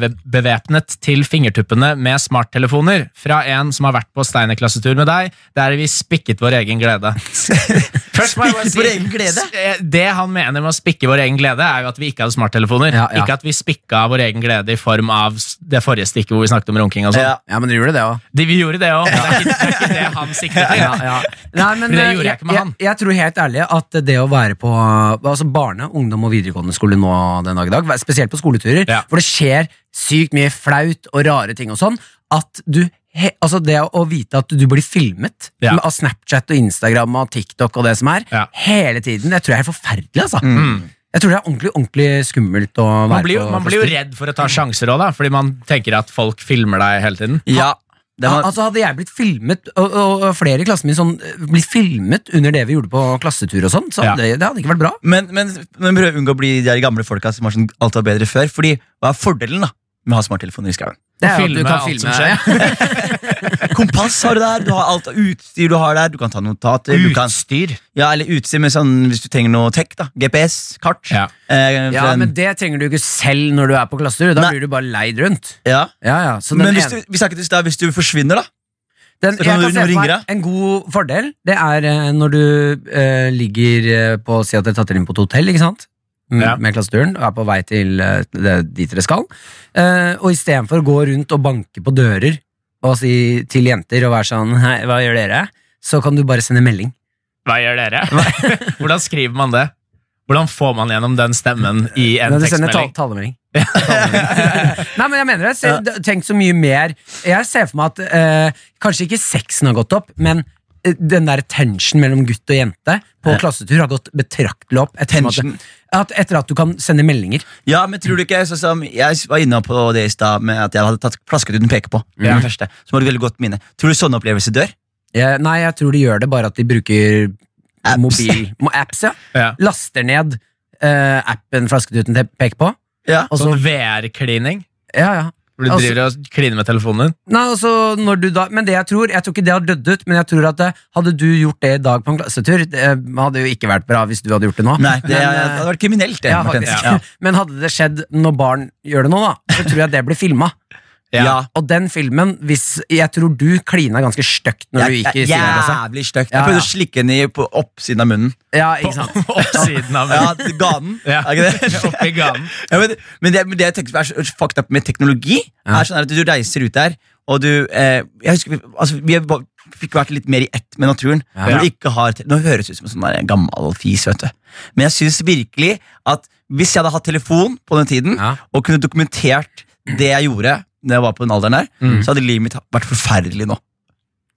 multimediebevæpnet til fingertuppene med smarttelefoner? Fra en som har vært på Steiner-klassetur med deg, der vi spikket vår egen glede. Først må jeg bare Spikket vår egen glede? s- eh, Det han mener med å spikke vår egen glede, er jo at vi ikke hadde smarttelefoner. Ja, ja. Ikke at vi spikka vår egen glede i form av s- det forrige stikket hvor vi snakket om runking. og sånn. Ja, men du gjorde det òg. De- Vi gjorde det òg. Det, er ikke- det er ikke det han sikter til. Ja, ja. Nei, men, Men det eh, gjorde jeg ikke med han. Jeg, jeg tror helt ærlig at det å være på altså barne-, ungdom- og videregående skole nå den dag i dag, spesielt på skoleturer, Ja. hvor det skjer sykt mye flaut og rare ting og sånn, at du he, altså det å vite at du blir filmet Ja. med- av Snapchat og Instagram og TikTok og det som er, Ja. hele tiden, det tror jeg er forferdelig, altså. Mm. Jeg tror det er ordentlig, ordentlig skummelt å være Man blir, jo, på. man på blir jo skole. redd for å ta sjanser òg, fordi man tenker at folk filmer deg hele tiden. Ja. Det Ja, var, altså Hadde jeg blitt filmet, og, og, og flere i klassen min sånn, blitt filmet under det vi gjorde på klassetur og sånn, så Ja. hadde det, det hadde ikke vært bra. men, men, men prøv å unngå å bli de der gamle folka som har sånn alt var bedre før. Fordi hva er fordelen da med å ha smarttelefoner i skauen? Det er Å jo at du filme kan alt filme som skjer. ja. Kompass har du der, du har alt av utstyr du har der. Du kan ta notater. Du kan, Utstyr. ja, eller utstyr med sånn hvis du trenger noe tech. da GPS, kart. Ja. Eh, ja, fra en- men det trenger du ikke selv når du er på klassetur. Da Nei. blir du bare leid rundt. ja. Ja, ja. Så den Men hvis ene- du, vi snakket i stad, hvis du forsvinner, da? den, så jeg kan kan du se for ringe meg deg. en god fordel, det er eh, når du eh, ligger eh, på Si at dere tatt dere inn på et hotell, ikke sant? M- Ja. Med klasseturen, og er på vei til eh, det, dit dere skal. Eh, og istedenfor å gå rundt og banke på dører og si til jenter og være sånn Hei, hva gjør dere? Så kan du bare sende melding. Hva gjør dere? Hvordan skriver man det? Hvordan får man gjennom den stemmen i en Nei, du sender tekstmelding? tal- talemelding. Talemelding. Nei, men jeg mener det. Se, d- Tenk så mye mer. Jeg ser for meg at eh, kanskje ikke sexen har gått opp, men eh, den der tension mellom gutt og jente på klassetur har gått betraktelig opp etter at, Tension? at, etter at du kan sende meldinger. Ja, men tror du ikke sånn som Jeg var inne på det i stad med at jeg hadde tatt flasket uten peke på. Det var den første, som var et veldig godt minne Tror du sånne opplevelser dør? Eh, nei, jeg tror de gjør det bare at de bruker Apps. mobil mo- apps, ja. Ja. Laster ned eh, appen Flasketuten te- peker på. Ja. Og så, Sånn VR-klining. ja, ja. Hvor du Altså- driver og kliner med telefonen din. Nei, altså, når du da, men det jeg tror, jeg tror ikke det har dødd ut, men jeg tror at det, hadde du gjort det i dag på en klassetur, det eh, hadde jo ikke vært bra hvis du hadde gjort det nå. Nei, det, Men, eh, hadde vært kriminelt. Det, ja, Martin. faktisk. Ja. Men hadde det skjedd når barn gjør det nå, da, så tror jeg det blir filma. Ja. Og den filmen, hvis, jeg tror du klina ganske stygt når du Jeg- gikk i jeg- syvende klasse. jævlig stygt. altså. Ja, Jeg prøvde ja. å slikke den i på oppsiden av munnen. Ja, ikke sant? Oppsiden av Ja, Ganen. Ja. Er ikke det? Oppi ganen. Ja, men, men, det, men det jeg tenker som er så fucked up med teknologi, Ja. er sånn her at du reiser ut der, og du eh, Jeg husker vi, altså, vi var- fikk vært litt mer i ett med naturen. Ja. Når du ikke har, te- nå høres det ut som en sånn der gammel fis, vet du. Men jeg syns virkelig at hvis jeg hadde hatt telefon på den tiden, Ja. og kunne dokumentert det jeg gjorde da jeg var på den alderen der, Mm. så hadde livet mitt vært forferdelig nå.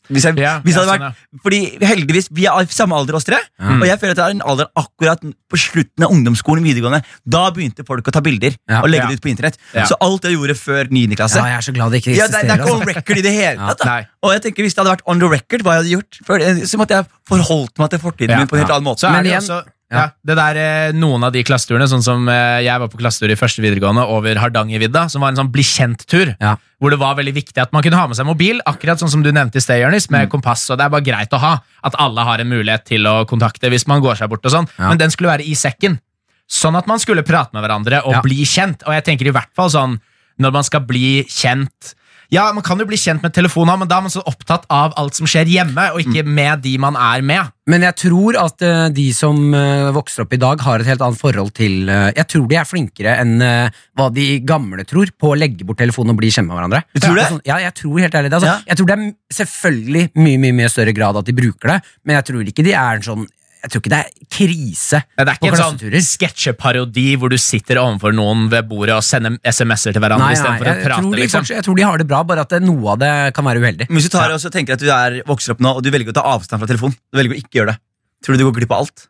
Hvis jeg, Ja, hvis jeg hadde ja, vært sånn, fordi heldigvis, vi er i samme alder oss tre. Ja. Og jeg føler at det er en alder akkurat på slutten av ungdomsskolen. videregående Da begynte folk å ta bilder Ja. og legge Ja. det ut på internett. Ja. Så alt jeg gjorde før 9. klasse Ja, jeg er så glad det ikke ja, det, er- det eksisterer. er ikke altså. on record i det hele tatt. da. Nei. og jeg tenker Hvis det hadde vært on the record, hva jeg hadde gjort, for, eh, så måtte jeg forholdt meg til fortiden Ja. min på en helt Ja. annen måte. Så er Men det igjen- også ja. ja. det der, eh, Noen av de klasseturene, sånn som eh, jeg var på klassetur i første videregående over Hardangervidda, som var en sånn bli kjent-tur, Ja. hvor det var veldig viktig at man kunne ha med seg mobil, akkurat sånn som du nevnte i sted, Jonis, med Mm. kompass, og det er bare greit å ha at alle har en mulighet til å kontakte hvis man går seg bort og sånn, Ja. men den skulle være i sekken. Sånn at man skulle prate med hverandre og Ja. bli kjent, og jeg tenker i hvert fall sånn når man skal bli kjent ja, man kan jo bli kjent med telefonen, men da er man så opptatt av alt som skjer hjemme, Mm. og ikke med de man er med. Men jeg tror at eh, de som eh, vokser opp i dag, har et helt annet forhold til eh, Jeg tror de er flinkere enn eh, hva de gamle tror, på å legge bort telefonen og bli kjent med hverandre. Du tror det? Altså, ja, jeg tror helt ærlig det. Altså, Ja. Jeg tror det er m- selvfølgelig mye mye, mye større grad at de bruker det, men jeg tror ikke de er en sånn Jeg tror ikke det er krise Ja, Det er på ikke en klasseturer. sånn sketsjeparodi hvor du sitter overfor noen ved bordet og sender SMS-er til hverandre Nei, nei, istedenfor å jeg, prate. tror de, liksom. Mm. fortsatt- jeg tror de har det bra, bare at eh, noe av det kan være uheldig. Men hvis du tar og så tenker at du er, vokser opp nå, og du velger å ta avstand fra telefonen Du velger å ikke gjøre det. Tror du du går glipp av alt?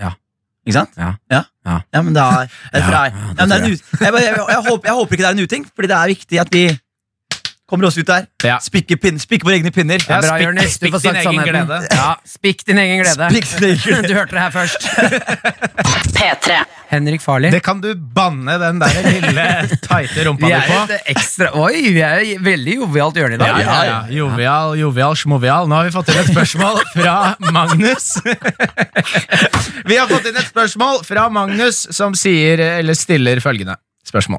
Ja. Ikke sant? Ja. Ja, Ja. Ja, men da er, derfor Ja, er, ja, det ja, men det er en tror ut, jeg, bare- jeg, jeg, håper, jeg håper ikke det er en uting, fordi det er viktig at vi kommer oss ut der. Ja. Spikke, pin, spikke våre egne pinner. Ja, Bra, spikk- Jonis. Du spikk får sagt din egen sannheten. glede. Ja, spikk din egen glede. Spikk din egen glede. Du hørte det her først. P3. Henrik Farli. Det kan du banne den der lille tighte rumpa Vi di er på. et ekstra Oi, vi er i veldig jovialt hjørne i Ja, dag. ja, ja. Jovial, jovial, smovial. Nå har vi fått inn et spørsmål fra Magnus. Vi har fått inn et spørsmål fra Magnus som sier, eller stiller følgende spørsmål.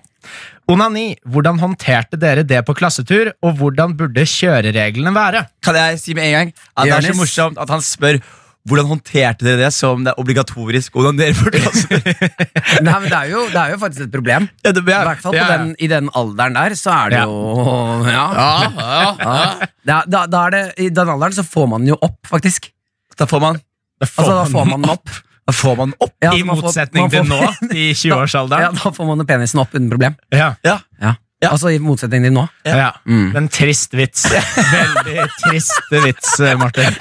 Onani, hvordan håndterte dere det på klassetur, og hvordan burde kjørereglene være? Kan jeg si med en gang at det er så Jonis. morsomt at han spør hvordan håndterte dere det som det er obligatorisk? Hvordan dere burde altså. Nei, men det er, jo, det er jo faktisk et problem. ja, det, I ja. hvert fall på Ja, ja. den, i den alderen der, så er det Ja. jo Ja. Da, da, da er det, I den alderen så får man den jo opp, faktisk. Da får man Altså, da får man den opp. Da får man opp. Ja, I man får- motsetning man får- til nå, i Ja, 20-årsalderen. da får man penisen opp uten problem. Ja. Ja. Ja. Ja. Altså i motsetning til nå. Ja. Ja. Mm. En trist vits. Veldig trist vits, eh, Martin.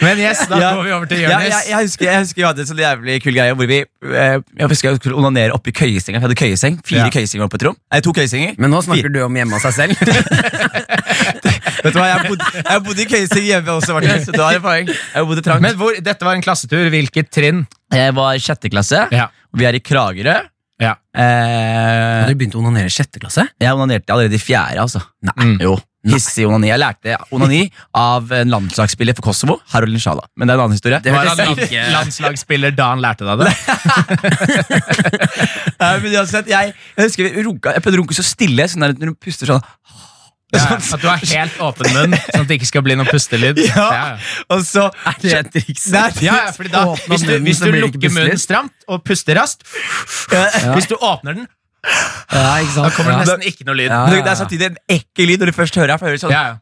Men yes, da Ja. går vi over til Ja, jeg, Jonis. jeg, husker, jeg husker vi hadde en sånn jævlig kul greie hvor vi eh, Jeg husker jeg skulle onanere oppi køyesenga. Vi hadde køyeseng. Fire Ja. køyesenger oppe i et rom. Nei, to køyesenger. Men nå snakker du om hjemme av seg selv. Vet du hva, Jeg bodde, jeg bodde i køyeseng hjemme også, Martin, så du har et poeng. Jeg bodde trangt. Men hvor, dette var en klassetur. Hvilket trinn? jeg var i sjette klasse. Ja. Vi er i Kragerø. Ja. Eh, Har du begynt å onanere i sjette klasse? Jeg onanerte allerede i fjerde, altså. Nei. Jo. Hissig onani. Jeg lærte onani av en landslagsspiller for Kosovo, Harolin Shala. Men det er en annen historie. Det Var hørtes han land, ikke- landslagsspiller da han lærte deg det? Nei, men uansett, jeg, jeg husker vi runka, jeg prøvde å runke så stille, sånn der, når du puster sånn. Ja, at du har helt åpen munn, sånn at det ikke skal bli noe pustelyd? Ja, Og så Er det et triks? Nei, Ja, ja, fordi da, Åpner hvis du, munnen, hvis så du blir det ikke lukker munnen pustelyd. stramt og puster raskt Hvis du åpner den, Ja, ikke sant? da kommer det Ja. nesten ikke noe lyd. Ja. men Det er samtidig en ekkel lyd når du først hører her. For jeg hører sånn, Ja, ja.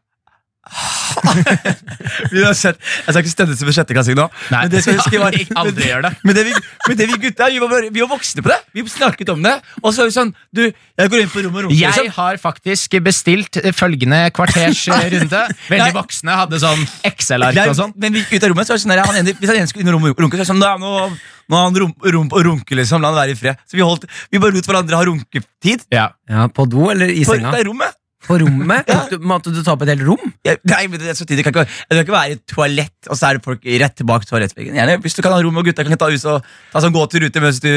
Vi har sett, jeg skal ikke støtte som en sjetteklassing nå. Nei. men det skal jeg huske var Ikke aldri gjør det. Men det vi, men det vi gutta vi var, bare- vi var voksne på det. Vi snakket om det. Og så var vi sånn Du, jeg går inn på rommet og roper. Jeg liksom. har faktisk bestilt eh, følgende kvarters eh, runde. Veldig Nei. voksne hadde sånn Nei, Excel-ark og sånn. Men vi gikk ut av rommet, så var det sånn der, han ene, hvis han ene skulle inn og rom- runke, så var det sånn «Nei, Nå nå har han rom, rom, og runke, liksom. La han være i fred. Så vi, holdt, vi bare lot hverandre ha runketid Ja. Ja, På do eller i på senga? på rommet. På rommet? Tok du, måtte du ta opp et helt rom? Jeg, nei, men det er så tidlig, jeg kan ikke, jeg kan ikke være i et toalett, og så er det folk rett tilbake til toalettveggen. Gjerne, hvis du kan ha rom og gutta kan ta ut og ta sånn gåtur ute mens du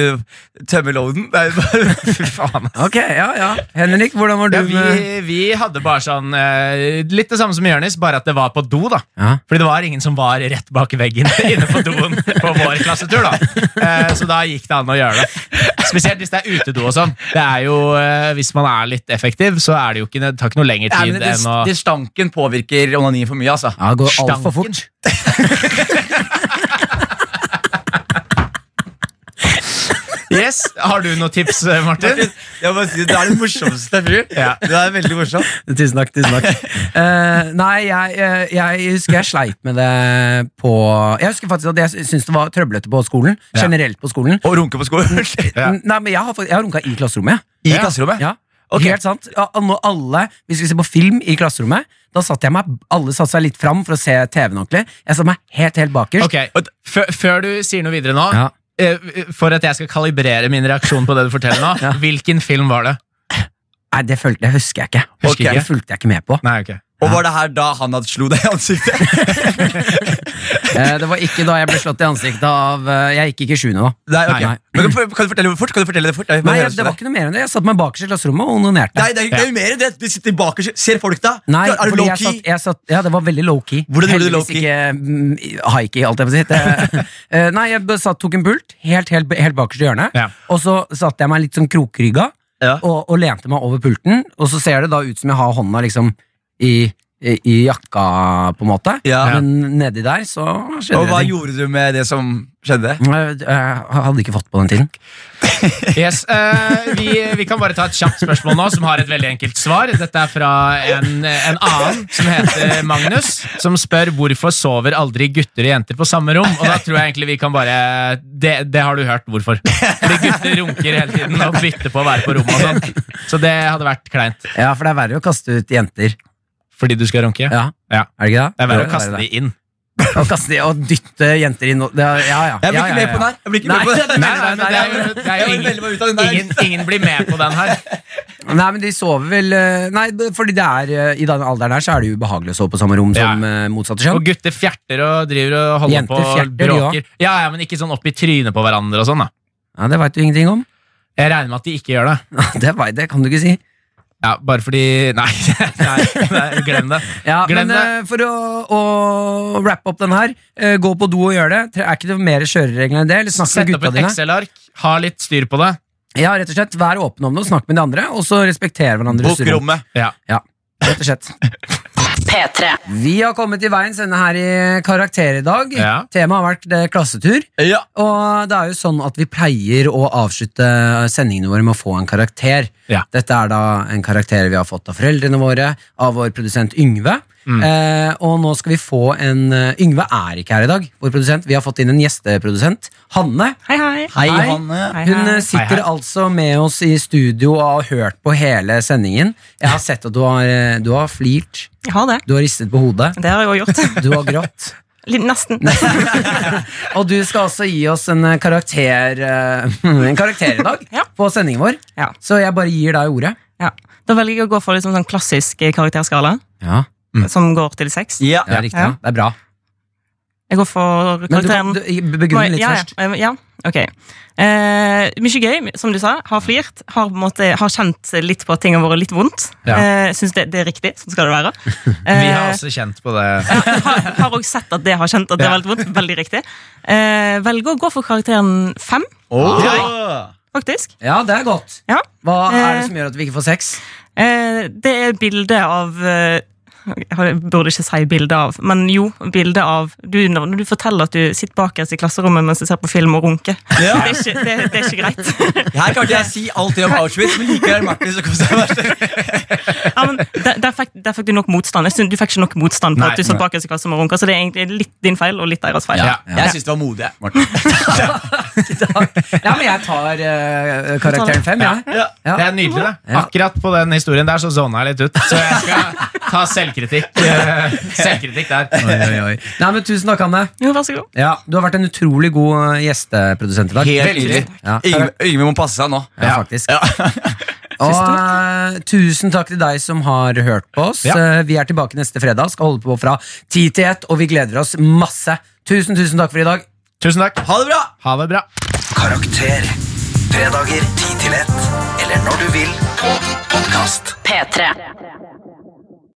tømmer loaden. Det er bare, fy faen. ass. Ok, ja, ja. Henrik, hvordan var du Ja, vi, med vi hadde bare sånn eh, Litt det samme som Jonis, bare at det var på do, da. Ja. Fordi det var ingen som var rett bak veggen inne på doen på vår klassetur, da. Eh, så da gikk det an å gjøre det. Spesielt hvis det er utedo og sånn. Det er jo, eh, Hvis man er litt effektiv, så er det jo ikke, det tar ikke noe lengre Nei, tid men det, enn å det stanken påvirker onanien for mye, altså. Ja, det går altfor Stanken. fort. Yes, Har du noen tips, eh, Martin? Jeg må si, det er den morsomste fyren. Ja. Det er veldig morsomt. Tusen takk. tusen takk Eh, Nei, jeg, eh, jeg husker jeg sleit med det på Jeg husker faktisk at jeg sy- syntes det var trøblete på skolen. Ja. Generelt på skolen. Å runke på skolen. Ja. N- Nei, men Jeg har, fakt- jeg har runka i klasserommet. I Ja. klasserommet. Ja. Ok. Helt sant. Ja, og Når alle Vi skulle se på film i klasserommet. Da satt jeg meg, Alle satte seg litt fram for å se TV-en ordentlig. Jeg satt meg helt helt bakerst. Ok, før, før du sier noe videre nå, Ja. eh, for at jeg skal kalibrere min reaksjon på det du forteller nå, Ja. hvilken film var det? Nei, det, følte, det husker jeg ikke. Husker Det ikke? fulgte jeg ikke med på. Nei, ok. Og var det her da han hadde slo deg i ansiktet? Eh, Det var ikke da jeg ble slått i ansiktet av eh, Jeg gikk ikke i sjuende da. Nei, ok. Nei. Men kan, kan du fortelle det fort? Kan du fortelle det fort? Jeg vil Nei, høre jeg, det var det. ikke noe mer enn det. Jeg satt meg bakerst i klasserommet og onanerte. Nei, det er jo- det er jo mer enn det. Du sitter bak og ser folk da. Nei, er du fordi jeg low-key? satt, jeg satt, ja, det var veldig low-key. Hvordan gjorde du Heldigvis low-key? Ikke mm, high-key, alt jeg får si. Det- Eh, Nei, jeg satt, tok en pult, helt, helt, helt bakerst i hjørnet, Ja. og så satte jeg meg litt sånn krokrygga, Ja. og, og lente meg over pulten, og så ser det da ut som jeg har hånda liksom i, i, i jakka, på en måte. Ja. Men nedi der så skjedde Og hva det ting. gjorde du med det som skjedde? Jeg, jeg hadde ikke fått på den tiden. Yes, eh, vi, vi kan bare ta et kjapt spørsmål nå, som har et veldig enkelt svar. Dette er fra en, en annen som heter Magnus, som spør hvorfor sover aldri gutter og jenter på samme rom. Og da tror jeg egentlig vi kan bare Det, det har du hørt hvorfor. Fordi gutter runker hele tiden og bytter på å være på rommet og sånn. Så det hadde vært kleint. Ja, for det er verre å kaste ut jenter. Fordi du skal runke? Ja, Ja. Er det ikke det? Det er Jo, verre å kaste de inn. det. Å kaste de og dytte jenter inn og det er- Ja, ja. Jeg blir ja, ikke ja, med på den ja. her. Jeg blir ikke med Nei. på den. Nei, nei, men det er jo, det er Jeg jo vil ingen, veldig meg ut av den der. Ingen, ingen blir med på den her. Nei, men de sover vel eh, Nei, b- fordi det er eh, i den alderen der så er det jo ubehagelig å sove på samme rom som Ja. eh, motsatte kjønn. Og gutter fjerter og driver og holder Jenter på og fjerter, de bråker. Ja, ja, Men ikke sånn opp i trynet på hverandre og sånn, da. Ja, det veit du ingenting om. Jeg regner med at de ikke gjør det. Det, vet, det kan du ikke si. Ja, Bare fordi Nei, nei, nei glem det. Ja, Glem men det. eh, for å, å wrappe opp den her, eh, gå på do og gjør det. Tre- Er ikke det mer kjøreregler enn det? Eller snakk Sett med opp gutta et dine. Excel-ark, ha litt styr på det. Ja, rett og slett, Vær åpen om det, og snakk med de andre, og så respekter hverandres Bok rommet. Ja. Ja, rett og slett. P3. Vi har kommet til veien ende her i Karakter i dag. Ja. Temaet har vært eh, klassetur. Ja. Og det er jo sånn at vi pleier å avslutte eh, sendingene våre med å få en karakter. Ja. Dette er da en karakter vi har fått av foreldrene våre, av vår produsent Yngve. Mm. Eh, og nå skal vi få en eh, Yngve er ikke her i dag, vår produsent. Vi har fått inn en gjesteprodusent. Hanne. Hei, hei. Hei, Hanne. Hun eh, sitter Hei, hei. altså med oss i studio og har hørt på hele sendingen. Jeg har sett at du har, eh, du har flirt, Jeg har det. du har ristet på hodet, Det har jeg også gjort. du har grått. Litt- Nesten. Og du skal også gi oss en eh, karakter eh, En karakter i dag Ja. på sendingen vår. Ja. Så jeg bare gir deg ordet. Ja. Da velger jeg å gå for liksom sånn klassisk eh, karakterskala, Ja, Mm. som går til seks. Ja. Det er riktig. Ja. Det er bra. Jeg går for Men du, karakteren du, begrunn litt ja, først. Ja, ja. ok. Eh, mye gøy, som du sa. Har flirt. Har, på en måte, har kjent litt på at ting har vært litt vondt. Ja. Eh, Syns det, det er riktig. Sånn skal det være. Vi har Eh, også kjent på det. har, har også sett at det har kjent at Ja. det har vært vondt. Veldig riktig. Eh, velger å gå for karakteren fem, Ja. faktisk. Ja, det er godt. Ja. Hva er det Eh. som gjør at vi ikke får sex? Eh, det er bildet av eh, Jeg burde ikke si bilde av, men jo, bilde av du, Når du forteller at du sitter bakerst i klasserommet mens du ser på film og runker. Det, er ikke, det, det er ikke greit. Her kan ikke jeg si alt det om Auschwitz, men likevel Martin så kom seg verst. Ja, men der, der, fikk, der fikk du nok motstand. Jeg synes, du fikk ikke nok motstand på Nei, at du satt bakerst i klasserommet og runka, så det er egentlig litt din feil og litt deres feil. Ja, jeg syns det var modig. jeg, Martin. Ja, men jeg tar eh, karakteren fem, jeg. Ja. Ja. Det er nydelig, det. Ja. Akkurat på den historien der så zona jeg litt ut. Så jeg skal ta selvkritikk. eh, Selvkritikk der. Oi, oi, oi. Nei, men Tusen takk, Anne. Jo, vær så god. Ja, Du har vært en utrolig god eh, gjesteprodusent i dag. Helt nydelig. Ja. Yngve- Yngve må passe seg nå. Ja, faktisk. Og eh, tusen takk til deg som har hørt på oss. Ja. Eh, vi er tilbake neste fredag, skal holde på fra 10 til 1, og vi gleder oss masse. Tusen, tusen takk for i dag. Tusen takk. Ha det bra! Ha det bra. Karakter. Fredager 10 til 1, eller når du vil på podkast. P3.